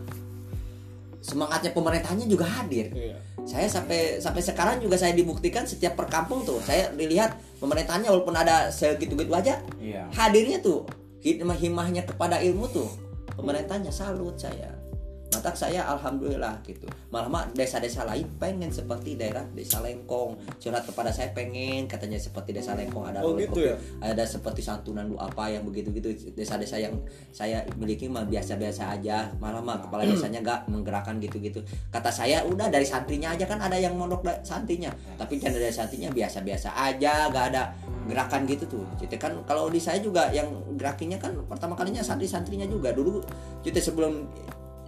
S2: semangatnya pemerintahnya juga hadir
S1: Iya.
S2: saya sampai sampai sekarang juga saya dibuktikan setiap perkampung tuh saya dilihat pemerintahnya walaupun ada segitu gitu aja
S1: Ya.
S3: Iya.
S2: hadirnya tuh hikmah himahnya kepada ilmu tuh pemerintahnya salut saya maka saya alhamdulillah gitu malah mah desa-desa lain pengen seperti daerah desa Lengkong curhat kepada saya pengen katanya seperti desa Lengkong ada
S1: Oh,
S2: role
S1: gitu ya?
S2: profil, ada seperti santunan lu apa yang begitu-gitu desa-desa yang saya miliki mah biasa-biasa aja malah mah kepala
S1: Hmm.
S2: desanya nggak menggerakkan gitu-gitu kata saya udah dari santrinya aja kan ada yang mondok da- santrinya tapi jangan dari santrinya biasa-biasa aja nggak ada gerakan gitu tuh Cite kan kalau di saya juga yang gerakinya kan pertama kalinya santri-santrinya juga dulu Cite sebelum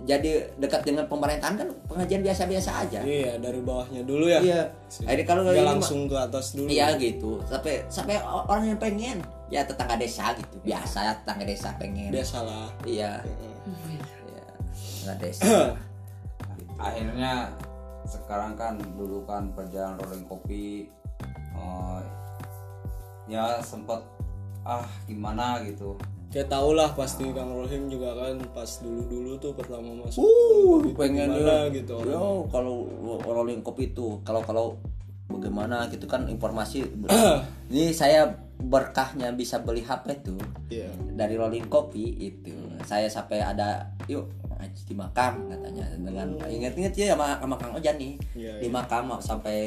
S2: jadi dekat dengan pemerintahan kan pengajian biasa-biasa aja
S1: Iya, dari bawahnya dulu ya.
S2: Iya. Akhirnya kalau
S1: Nggak
S2: ini mah-
S1: langsung ke atas dulu.
S2: Iya gitu sampai sampai o- orang yang pengen ya tetangga desa gitu biasa ya tetangga desa pengen
S1: Biasalah.
S2: iya
S1: Heeh.
S2: iya tetangga
S1: (coughs)
S2: desa Uh,
S3: akhirnya sekarang kan dulu kan perjalanan rolling kopi eh, ya sempat ah gimana gitu
S1: Ya tau lah pasti Kang Rohim juga kan pas dulu-dulu tuh pertama masuk.
S2: uh
S1: Gitu,
S2: pengen
S1: gimana
S2: Iya. lah
S1: gitu orang.
S2: yo kalau rolling kopi itu kalau kalau bagaimana gitu kan
S1: (coughs)
S2: informasi ini saya berkahnya bisa beli HP tuh
S1: Iya.
S2: dari rolling kopi itu saya sampai ada yuk ngaji di makam katanya dengan inget-inget ya sama, sama Kang Ojan nih
S1: Hmm. Iya, Hmm.
S2: di
S1: iya.
S2: makam sampai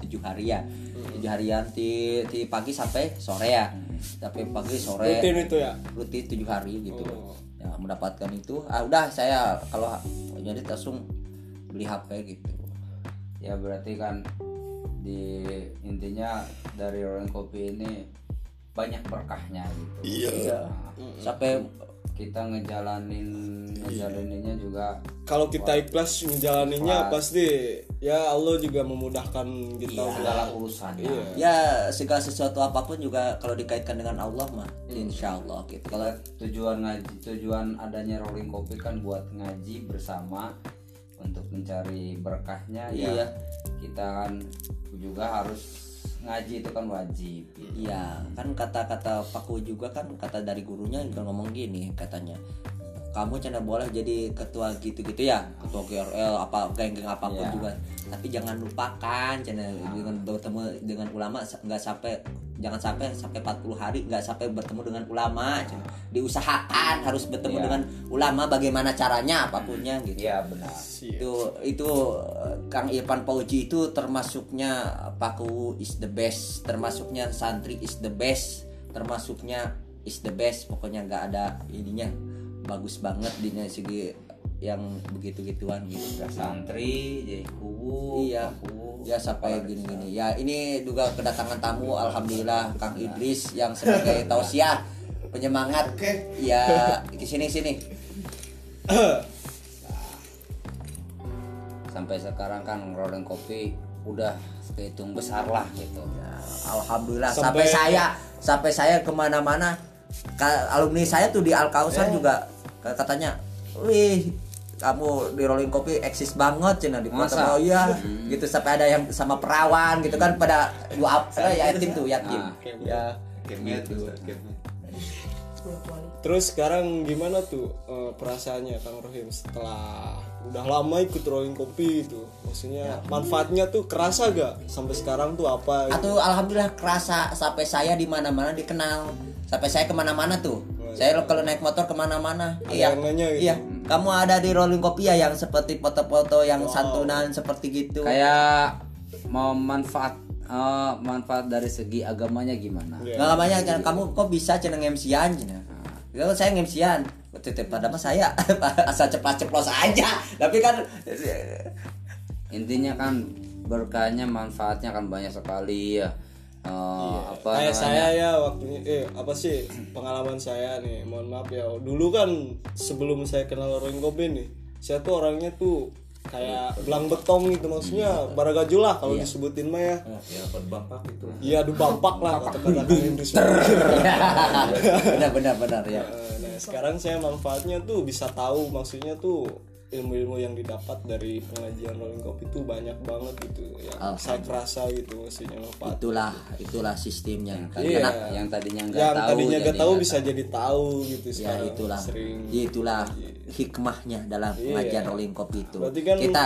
S2: tujuh hari ya tujuh harian ti, ti pagi sampai sore ya sampai pagi
S1: Hmm.
S2: sore
S1: Rutin itu ya.
S2: rutin tujuh hari gitu
S1: Oh.
S2: ya mendapatkan itu ah udah saya kalau ha- jadi langsung beli HP gitu
S3: ya berarti kan di intinya dari rolling kopi ini banyak berkahnya gitu
S2: iya
S3: Nah,
S1: Hmm.
S2: sampai
S3: kita ngejalanin
S2: Iya.
S3: ngejalaninnya juga
S1: Kalau kita ikhlas menjalaninya
S3: Ikhlas.
S1: pasti ya Allah juga memudahkan kita
S2: Iya.
S1: segala
S3: segala urusannya
S1: Iya.
S2: ya segala sesuatu apapun juga kalau dikaitkan dengan Allah mah
S1: Hmm.
S2: insya Allah gitu kalau
S3: tujuan ngaji tujuan adanya rolling kopi kan buat ngaji bersama untuk mencari berkahnya
S2: Iya.
S3: ya kita kan juga harus ngaji itu kan wajib
S2: Iya, kan kata-kata Paku juga kan kata dari gurunya juga ngomong gini katanya. Kamu canda boleh jadi ketua gitu-gitu ya, ketua GRL apa geng-geng apapun
S3: Iya.
S2: juga. Tapi jangan lupakan canda dengan bertemu dengan ulama sa- nggak sampai jangan sampai sampai 40 hari nggak sampai bertemu dengan ulama. cen. Diusahakan harus bertemu
S3: Iya.
S2: dengan ulama bagaimana caranya apapunnya gitu
S3: iya benar
S1: Sia.
S2: itu itu eh, Kang Irfan Pauji itu termasuknya Paku is the best termasuknya santri is the best termasuknya is the best pokoknya nggak ada ininya bagus banget di segi yang begitu gituan gitu
S3: Udah santri jadi kubu
S2: Iya.
S3: kubu
S2: ya sampai gini-gini ya ini juga kedatangan tamu alhamdulillah Kang Idris yang sebagai tausiah penyemangat ya ke sini sini
S3: sampai sekarang kan rolling kopi udah kehitung besar lah gitu
S2: Ya, Alhamdulillah
S1: Sampai-
S2: sampai,
S1: ya.
S2: saya sampai saya kemana-mana ka- alumni saya tuh di Al
S1: Eh.
S2: Kausar juga ka- katanya, wih kamu di Rolling Kopi eksis banget cina di
S3: Masa?
S2: Masa? ya
S1: Hmm.
S2: gitu sampai ada yang sama perawan gitu kan pada dua apa ya yatim tuh yatim
S3: Ah.
S2: ya
S3: gitu
S1: Terus sekarang gimana tuh eh, perasaannya Kang Rohim setelah udah lama ikut rolling kopi itu?
S3: Ya.
S1: Maksudnya manfaatnya tuh kerasa gak sampai sekarang tuh apa? gitu?
S2: atau alhamdulillah kerasa sampai saya di mana-mana dikenal sampai saya kemana-mana tuh saya kalau naik motor kemana-mana
S1: Ada yang nanya gitu.
S2: iya kamu ada di rolling kopi ya yang seperti foto-foto yang santunan seperti gitu
S3: kayak mau manfaat eh, manfaat dari segi agamanya gimana
S1: Iya.
S2: nggak banyak kan kamu kok bisa ceneng MC-an cenah. Kalau Nah, ya, saya MC-an titip pada mas saya (laughs) asal ceplos-ceplos aja tapi kan
S3: intinya kan berkahnya manfaatnya kan banyak sekali ya Eh,
S2: oh,
S3: apa
S1: kayak
S3: namanya?
S1: saya ya waktunya eh apa sih pengalaman saya nih mohon maaf ya dulu kan sebelum saya kenal orang kopi nih saya tuh orangnya tuh kayak belang betong gitu
S3: Hmm.
S1: maksudnya baragajo lah
S3: Iya.
S1: kalau disebutin mah ya
S5: ya bampak itu
S1: iya adu bampak lah kata kata Kang Idris.
S2: (laughs) benar ya. benar benar ya
S1: Eh, nah sekarang saya manfaatnya tuh bisa tahu maksudnya tuh ilmu-ilmu yang didapat dari pengajian rolling kopi itu banyak banget gitu yang saya kerasa gitu maksudnya manfaat
S2: itulah itulah sistemnya
S1: Iya.
S3: Karena yang tadinya nggak
S1: yang
S3: tahu Iya,
S1: tadinya
S3: jadi
S1: gak tahu
S3: nggak
S1: bisa jadi tahu gitu
S2: ya
S1: sekarang
S2: itulah
S1: sering Iya.
S2: itulah hikmahnya dalam pengajian rolling kopi itu
S1: Berarti kan-
S2: kita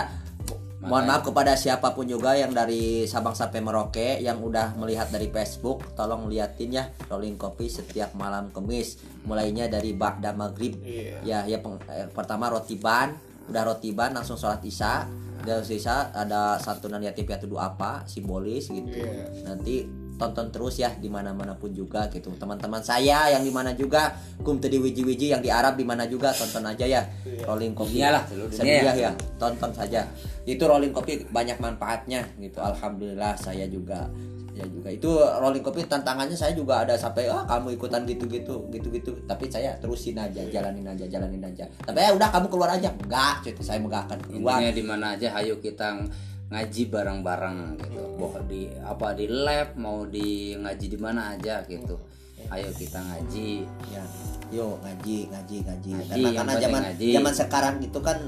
S2: mohon maaf kepada siapapun juga yang dari Sabang sampai Merauke yang udah melihat dari Facebook tolong liatin ya rolling kopi setiap malam kemis mulainya dari ba'da maghrib
S1: Iya.
S2: ya ya peng- eh, pertama roti ban udah roti ban langsung sholat isya dari isya ada santunan yatim piatu doa apa simbolis gitu
S1: Iya.
S2: nanti tonton terus ya di mana mana pun juga gitu teman-teman saya yang di mana juga kum tadi wiji wiji yang di Arab di mana juga tonton aja ya
S1: Iya.
S2: rolling kopi
S3: Dunia Iya lah, seluruh dunia
S2: Sedia
S3: ya.
S2: ya tonton saja itu rolling kopi banyak manfaatnya gitu alhamdulillah saya juga saya juga itu rolling kopi tantangannya saya juga ada sampai ah kamu ikutan gitu gitu gitu gitu tapi saya terusin aja jalanin aja jalanin aja tapi ya udah kamu keluar aja enggak cuy saya enggak akan keluar
S3: intinya di mana aja ayo kita ng- ngaji bareng-bareng gitu
S1: Hmm.
S3: Mau di apa di lab mau di ngaji di mana aja gitu
S1: Hmm.
S3: ayo kita ngaji
S2: ya yo ngaji ngaji ngaji,
S3: Ngaji,
S2: karena
S3: yang
S2: karena
S3: penting
S2: zaman
S3: ngaji.
S2: zaman sekarang itu kan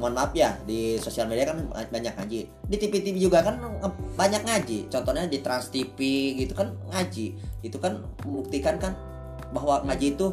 S2: mohon maaf ya di sosial media kan banyak ngaji di TV TV juga kan nge- banyak ngaji contohnya di Trans TV gitu kan ngaji itu kan membuktikan kan bahwa ngaji itu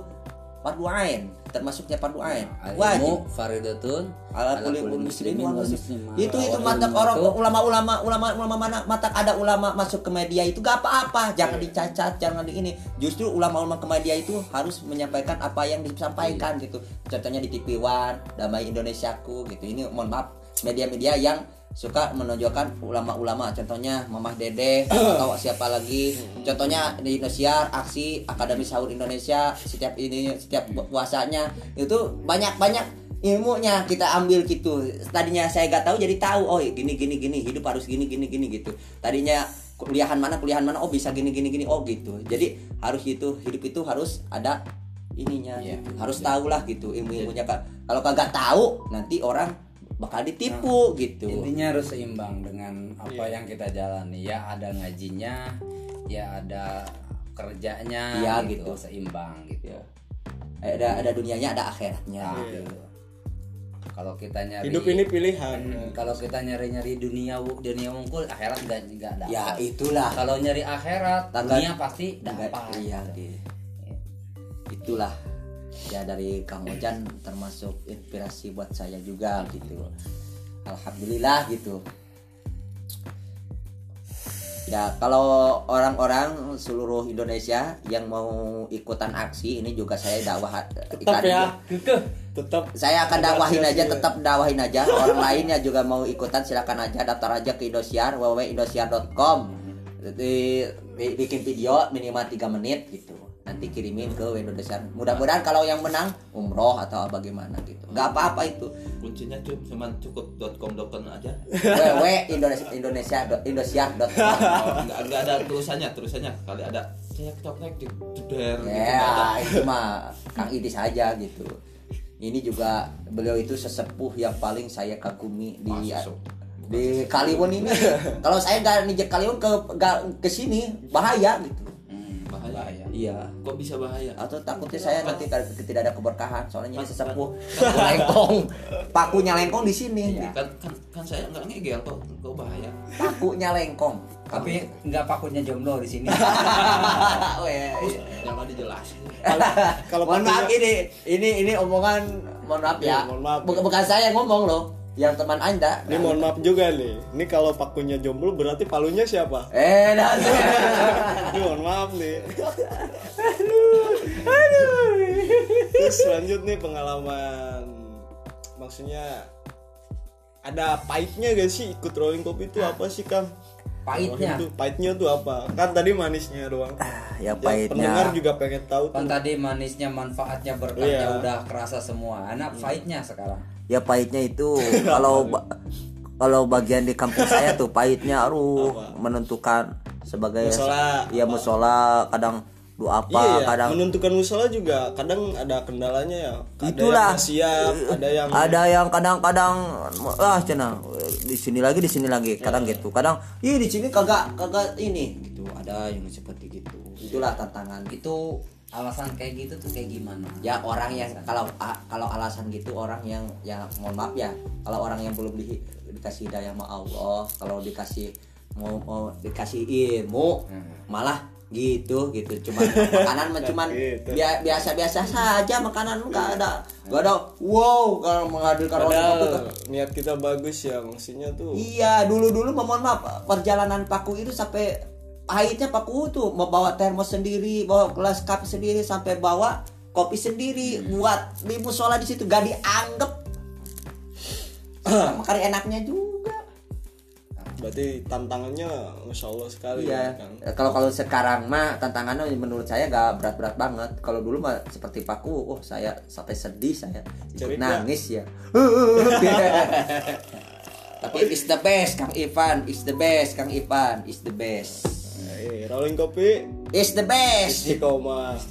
S2: fardu ain termasuknya fardu ain wajib
S3: Nah, ilmu faridatun
S2: ala
S3: ala
S2: kulli
S3: kulli
S2: muslimin
S3: muslimin
S2: wal
S3: Oh, wal
S2: muslimat.
S3: muslimat.
S2: itu itu
S3: Wal
S2: mata orang
S3: muslimatu.
S2: ulama-ulama ulama ulama mana mata ada ulama masuk ke media itu gak apa-apa jangan dicacat jangan di ini justru ulama-ulama ke media itu harus menyampaikan apa yang disampaikan gitu contohnya di TV One damai Indonesiaku gitu ini mohon maaf media-media yang suka menonjolkan ulama-ulama contohnya Mamah Dede atau siapa lagi contohnya di Indonesia aksi Akademi Sahur Indonesia setiap ini setiap puasanya itu banyak-banyak ilmunya kita ambil gitu tadinya saya gak tahu jadi tahu oh gini gini gini hidup harus gini gini gini gitu tadinya kuliahan mana kuliahan mana oh bisa gini gini gini oh gitu jadi harus itu hidup itu harus ada ininya
S3: Iya.
S2: gitu. harus tahulah gitu ilmu ilmunya kak kalau kagak tahu nanti orang bakal ditipu gitu
S3: intinya harus seimbang dengan apa
S1: Iya.
S3: yang kita jalani ya ada ngajinya ya ada kerjanya
S2: Iya,
S3: gitu.
S2: gitu.
S3: seimbang gitu
S2: Ya. ada ada dunianya ada akhiratnya
S3: Nah,
S2: gitu.
S3: gitu. kalau kita nyari
S1: hidup ini pilihan
S3: iya. Hmm, kalau kita nyari nyari dunia wu- dunia wungkul akhirat nggak nggak dapat
S2: ya itulah
S3: kalau nyari akhirat
S2: Tangga-
S3: dunia pasti dapat
S2: Iya, gitu. itulah ya dari Kang Ojan termasuk inspirasi buat saya juga gitu. Alhamdulillah gitu. Ya kalau orang-orang seluruh Indonesia yang mau ikutan aksi ini juga saya dakwah
S1: tetap
S2: iklan-
S1: ya
S3: (laughs)
S1: tetap
S2: saya akan dakwahin
S1: Berhasil,
S2: aja
S1: ya.
S2: tetap dakwahin aja orang lain ya juga mau ikutan silakan aja daftar aja ke Indosiar www.indosiar.com Jadi, bi- bikin video minimal 3 menit gitu nanti kirimin ke Indosiar mudah-mudahan kalau yang menang umroh atau bagaimana gitu nggak apa-apa itu
S4: kuncinya cuma cuman cukup .com .com aja
S2: www.indosiar.com
S4: oh, nggak nggak ada tulisannya tulisannya kali ada saya kecoklek di jeder gitu, nggak ada.
S2: ya itu mah Kang Idis aja gitu ini juga beliau itu sesepuh yang paling saya kagumi di
S4: Ah, sesepuh.
S2: di Kliwon ini kalau saya nggak nijek Kliwon ke ga- ke sini bahaya gitu
S3: Hmm,
S4: Bahaya.
S3: bahaya
S2: iya
S4: kok bisa bahaya
S2: atau takutnya saya nanti tidak tidak ada keberkahan soalnya ini sesepuh sepuh lengkong pakunya lengkong di sini
S4: kan kan kan saya nggak ngegel kok kok bahaya
S2: pakunya lengkong
S3: tapi nggak pakunya jomblo di
S2: (laughs)
S3: sini
S2: Oh, iya, iya.
S4: jangan
S2: (laughs)
S4: dijelasin
S1: kalau
S2: mohon maaf
S1: pakunya-
S2: ini ini ini omongan mohon maaf ya,
S1: Iya, mohon maaf.
S2: Bukan, bukan saya yang ngomong loh yang teman anda
S1: ini mohon maaf juga nih ini kalau pakunya jomblo berarti palunya siapa
S2: eh
S1: (laughs)
S2: dah
S1: Ya, ini mohon maaf nih terus lanjut nih pengalaman maksudnya ada pahitnya gak sih ikut rolling kopi itu apa sih kang Rolling
S3: Pahitnya?
S1: tuh, pahitnya tuh apa kan tadi manisnya doang Ya,
S2: ya
S1: pendengar
S2: pahitnya
S1: juga pengen tahu
S3: kan
S1: tuh.
S3: tadi manisnya manfaatnya berkahnya
S1: Iya.
S3: udah kerasa semua anak
S2: Iya.
S3: pahitnya sekarang
S2: ya pahitnya
S1: (laughs)
S2: itu
S1: Ya,
S2: kalau ba- kalau bagian di kampung saya tuh pahitnya aruh menentukan sebagai
S1: Musola,
S2: ya musola kadang doa apa
S1: iya, ya,
S2: kadang
S1: menentukan musola juga kadang ada kendalanya ya. Ada
S2: Itulah.
S1: yang nggak siap, ada yang
S2: ada yang kadang-kadang ah cina di sini lagi di sini lagi kadang
S1: Iya.
S2: gitu kadang ih di sini kagak kagak ini gitu ada yang seperti gitu itulah tantangan
S3: itu alasan kayak gitu tuh kayak gimana
S2: ya orang yang kalau a- kalau alasan gitu orang yang ya mohon maaf ya kalau orang yang belum di- dikasih daya sama Allah kalau dikasih mau mau dikasih ilmu
S1: Hmm.
S2: malah gitu gitu cuman makanan
S1: (laughs)
S2: mah cuman
S1: Gitu.
S2: bia- biasa-biasa saja makanan nggak ada nggak ada wow kalau menghadirkan orang itu
S1: Hmm. Padahal niat kita bagus ya maksudnya tuh
S2: Iya, dulu-dulu mah, mohon maaf perjalanan paku itu sampai pahitnya paku tuh mau bawa termos sendiri, bawa gelas kopi sendiri sampai bawa kopi sendiri buat di musola di situ gak (clears throat) dianggap. Makanya enaknya juga.
S1: berarti tantangannya masya Allah sekali
S2: Iya.
S1: kan.
S2: Kalau kalau sekarang mah tantangannya menurut saya gak berat-berat banget. Kalau dulu mah seperti paku, oh saya sampai sedih saya
S1: Cerita.
S2: Ikut nangis (laughs) ya. Tapi is the best Kang Ivan, is the best Kang Ivan, is the best.
S1: Eh, rolling kopi
S2: Is the best.
S1: istiqomah.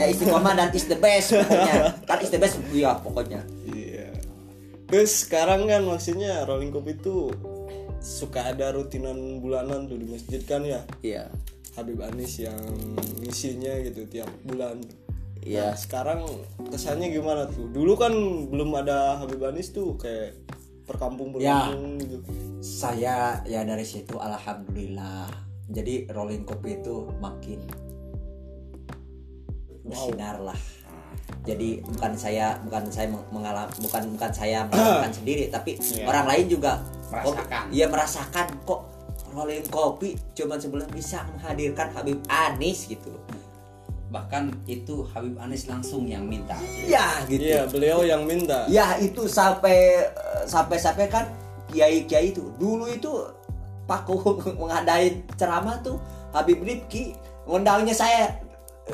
S2: Ya istiqomah dan is the best (laughs) pokoknya. Kan is the best ya pokoknya.
S1: Iya. Terus sekarang kan maksudnya rolling kopi itu suka ada rutinan bulanan tuh di masjid kan ya.
S2: Iya.
S1: Habib Anis yang ngisinya gitu tiap bulan. Nah,
S2: Iya.
S1: sekarang kesannya gimana tuh? Dulu kan belum ada Habib Anis tuh kayak perkampung
S2: Ya.
S1: perkampung gitu.
S2: Saya ya dari situ alhamdulillah. Jadi rolling kopi itu makin bersinar lah. Jadi bukan saya bukan saya mengalami bukan bukan saya melakukan sendiri tapi
S1: Iya.
S2: orang lain juga
S4: Merasakan.
S2: Kok- Iya merasakan kok rolling kopi cuman sebelum bisa menghadirkan Habib Anis gitu.
S3: bahkan itu Habib Anis langsung yang minta
S2: Iya gitu.
S1: Iya, beliau yang minta.
S2: Ya itu sampai sampai sampai kan kiai kiai itu dulu itu Paku (laughs) mengadain ceramah tuh Habib Rifki ngundangnya saya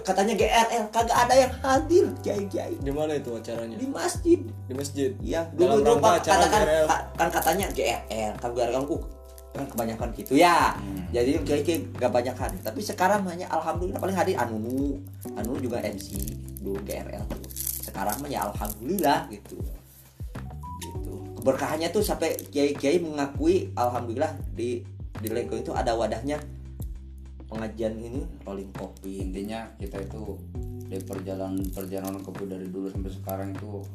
S2: katanya GRL kagak ada yang hadir kiai kiai
S1: Di mana itu acaranya?
S2: di masjid
S1: Di masjid.
S2: yang
S1: Dalam
S2: Iya, dulu tuh
S1: rangka
S2: Pak,
S1: acara
S2: katakan
S1: GRL.
S2: ka- kan katanya GRL kan gue kan uh, kan kebanyakan gitu ya
S1: Hmm.
S2: jadi kiai kiai gak banyak hadir tapi sekarang hanya alhamdulillah paling Anu hadir Anunu Anunu juga MC dulu GRL tuh sekarang mah ya alhamdulillah gitu gitu keberkahannya tuh sampai kiai kiai mengakui alhamdulillah di di Leko itu ada wadahnya pengajian ini rolling kopi
S4: intinya kita itu dari perjalanan perjalanan kopi dari dulu sampai sekarang itu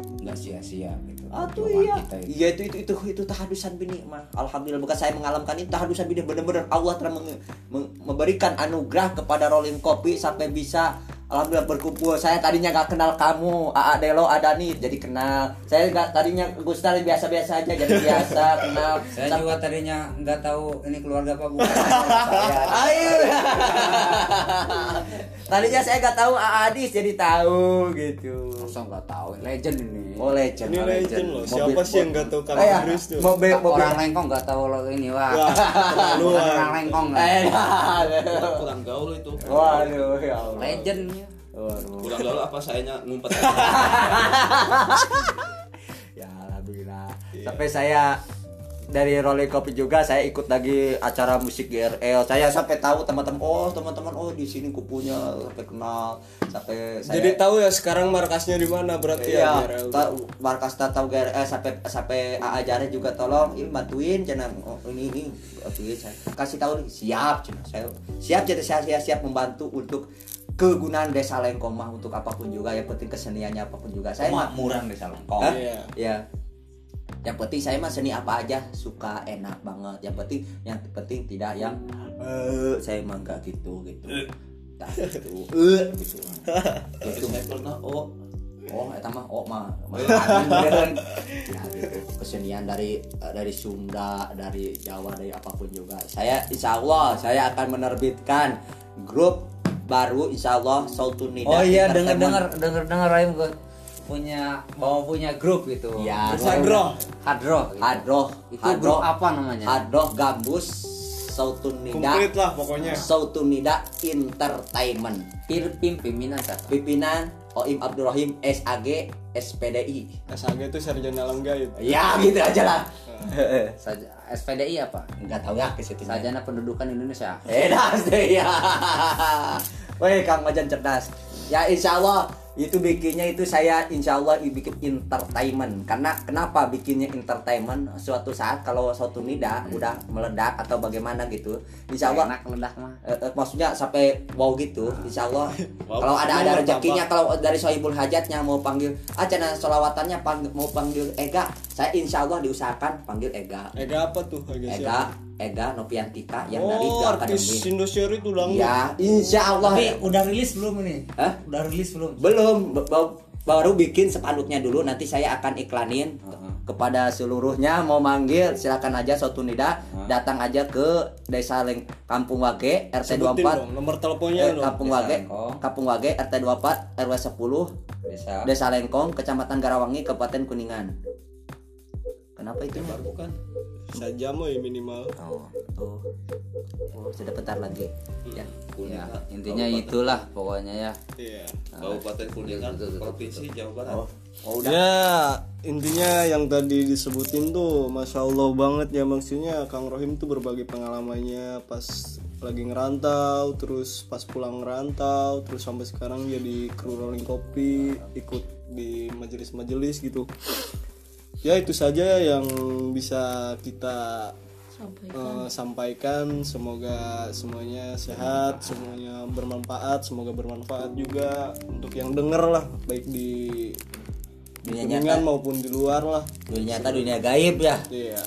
S4: nggak sia-sia gitu
S2: Ah tuh
S4: Perjuangan
S2: iya.
S4: kita itu.
S2: Iya itu itu itu itu tahadusan bini mah. Alhamdulillah bukan saya mengalamkan ini tahadusan bini benar-benar Allah telah menge- meng- memberikan anugerah kepada rolling kopi sampai bisa alhamdulillah berkumpul. Saya tadinya gak kenal kamu, Aa Delo, Adani jadi kenal. Saya gak tadinya Gus Dari biasa-biasa aja jadi biasa (laughs) kenal.
S3: saya
S2: Sam-
S3: juga tadinya nggak tahu ini keluarga apa (laughs) bukan
S2: Ayo. (laughs) tadinya saya gak tahu Aa Adis jadi tahu gitu.
S3: langsung Oh, nggak tahu legend ini
S2: Oh legend.
S1: Ini
S2: oh,
S1: legend loh. Siapa sih yang nggak tahu Kang
S2: Ayah,
S1: Idris tuh?
S2: Oh, iya. Mobil, mobil.
S3: orang lengkong nggak tahu lo ini
S1: Wah,
S3: wah Bukan
S1: keterlaluan.
S3: orang lengkong kan? lah
S2: Eh, aduh.
S6: kurang gaul itu
S2: (laughs) Waduh, ya Allah.
S3: legend iya.
S2: Waduh.
S6: kurang gaul apa sayanya
S2: (laughs)
S6: ngumpet
S2: Ya alhamdulillah. Sampai saya dari Rolling Kopi juga saya ikut lagi acara musik GRL. Saya sampai tahu teman-teman, oh teman-teman, oh di sini kupunya sampai kenal, sampai saya.
S1: Jadi tahu ya sekarang markasnya di mana berarti
S2: Iya,
S1: ya GRL.
S2: ta- markas tahu GRL eh, sampai sampai ajarnya juga tolong ini bantuin cina Oh, ini ini bantuin saya kasih tahu nih siap cina saya siap cina saya saya siap membantu untuk kegunaan desa Lengkomah untuk apapun juga yang penting keseniannya apapun juga saya mah
S3: muran desa lengkong
S2: Hah?
S1: Iya.
S2: ya yang penting saya mah seni apa aja suka enak banget yang penting yang penting tidak yang eh saya mah nggak gitu gitu
S3: Eh.
S2: Nah, gitu eh
S3: (laughs)
S2: gitu
S6: terus saya pernah oh
S2: oh eta mah oh mah
S3: (laughs)
S2: mah amin, ya, gitu. kesenian dari eh, dari Sunda dari Jawa dari apapun juga saya insya Allah saya akan menerbitkan grup baru insya Allah Sautun Nida
S3: oh iya denger
S2: Entertainment.
S3: denger denger denger Rahim gue punya bawa punya grup gitu
S2: Ya,
S3: Terus
S2: Hadroh.
S3: hadroh gitu.
S2: Hadroh
S3: itu
S2: Hadroh
S3: grup apa namanya
S2: Hadroh Gambus Sautun Nida
S1: Komplit lah pokoknya.
S2: Sautun Nida Entertainment
S3: Pirpim pimpinan kata
S2: pimpinan Oim Abdurrahim SAG SPDI
S1: SAG itu sarjana alam gaib.
S2: ya gitu aja
S1: (laughs)
S2: lah
S3: Saja, SPDI apa
S2: nggak tahu ya ke situ
S3: Sajana Pendudukan Indonesia
S2: Eh, deh ya. Woi Kang Majan cerdas. Ya insya Allah itu bikinnya itu saya insya Allah bikin entertainment karena kenapa bikinnya entertainment suatu saat kalau suatu nida udah meledak atau bagaimana gitu insya Allah
S3: enak ledak mah
S2: Eh, eh, maksudnya sampai wow gitu insya Allah
S6: Wow.
S2: kalau ada ada
S6: Wow,
S2: rezekinya kalau dari sohibul hajatnya mau panggil ah cina solawatannya panggil, mau panggil Ega saya insya Allah diusahakan panggil Ega
S1: Ega apa tuh? Ega, siapa?
S2: Ega Ega Nopiantika yang dari
S1: Ya, Oh,
S2: Gerakan
S1: artis
S2: Demi.
S1: Indosiar itu dangdut.
S2: ya insya
S3: Oh,
S2: Allah
S3: iya.
S7: Tapi udah rilis belum ini?
S2: Hah?
S7: Udah rilis belum?
S2: belum ba- ba- baru bikin spanduknya dulu nanti saya akan iklanin kepada seluruhnya mau manggil silakan aja suatu nida datang aja ke desa Leng Kampung Wage RT
S1: Sebutin
S2: 24
S1: dong, nomor teleponnya
S2: Eh,
S1: dong.
S2: Kampung
S4: Desa
S2: Wage,
S4: Lengkong.
S2: Kampung Wage RT 24 RW 10,
S4: Bisa.
S2: Desa Lengkong, Kecamatan Garawangi, Kabupaten Kuningan. Kenapa itu? Mar?
S4: kan
S1: Bukan. Saja mau ya minimal.
S2: Oh, tuh. Oh, sudah bentar lagi. Ya.
S3: ya intinya itulah pokoknya ya
S1: Iya.
S6: Kabupaten Kuningan, Provinsi Jawa Barat.
S2: Oh, udah.
S1: Ya, intinya yang tadi disebutin tuh Masya Allah banget ya maksudnya Kang Rohim tuh berbagi pengalamannya pas lagi ngerantau terus pas pulang ngerantau terus sampai sekarang jadi kru rolling kopi ikut di majelis-majelis gitu ya itu saja yang bisa kita eh, sampaikan semoga semuanya sehat semuanya bermanfaat semoga bermanfaat juga untuk yang denger lah baik di di
S2: Dunia
S1: kuningan maupun di luar lah
S2: Dunia nyata dunia gaib ya.
S1: iya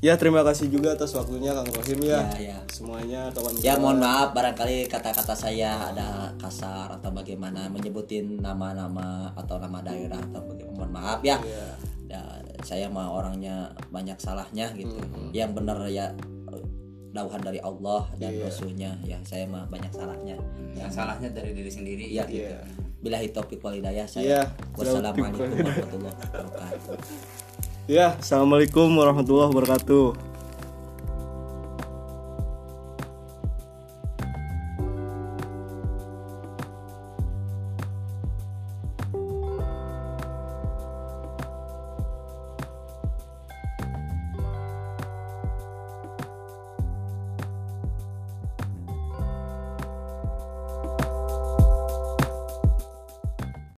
S1: ya terima kasih juga atas waktunya kang Rohim ya,
S2: Ya, ya.
S1: semuanya kawan
S2: Ya mohon maaf barangkali kata-kata saya ada kasar atau bagaimana menyebutin nama-nama atau nama daerah atau bagaimana mohon maaf ya.
S1: Iya.
S2: Ya, saya mah orangnya banyak salahnya gitu. Yang benar ya dauhan dari Allah dan Rasulnya ya saya mah banyak salahnya. Ya,
S3: yang salahnya dari diri sendiri
S2: ya gitu. Bila hitopik walidayah
S1: Iya,
S2: saya. Wassalamualaikum warahmatullahi wabarakatuh.
S1: ya assalamualaikum warahmatullahi wabarakatuh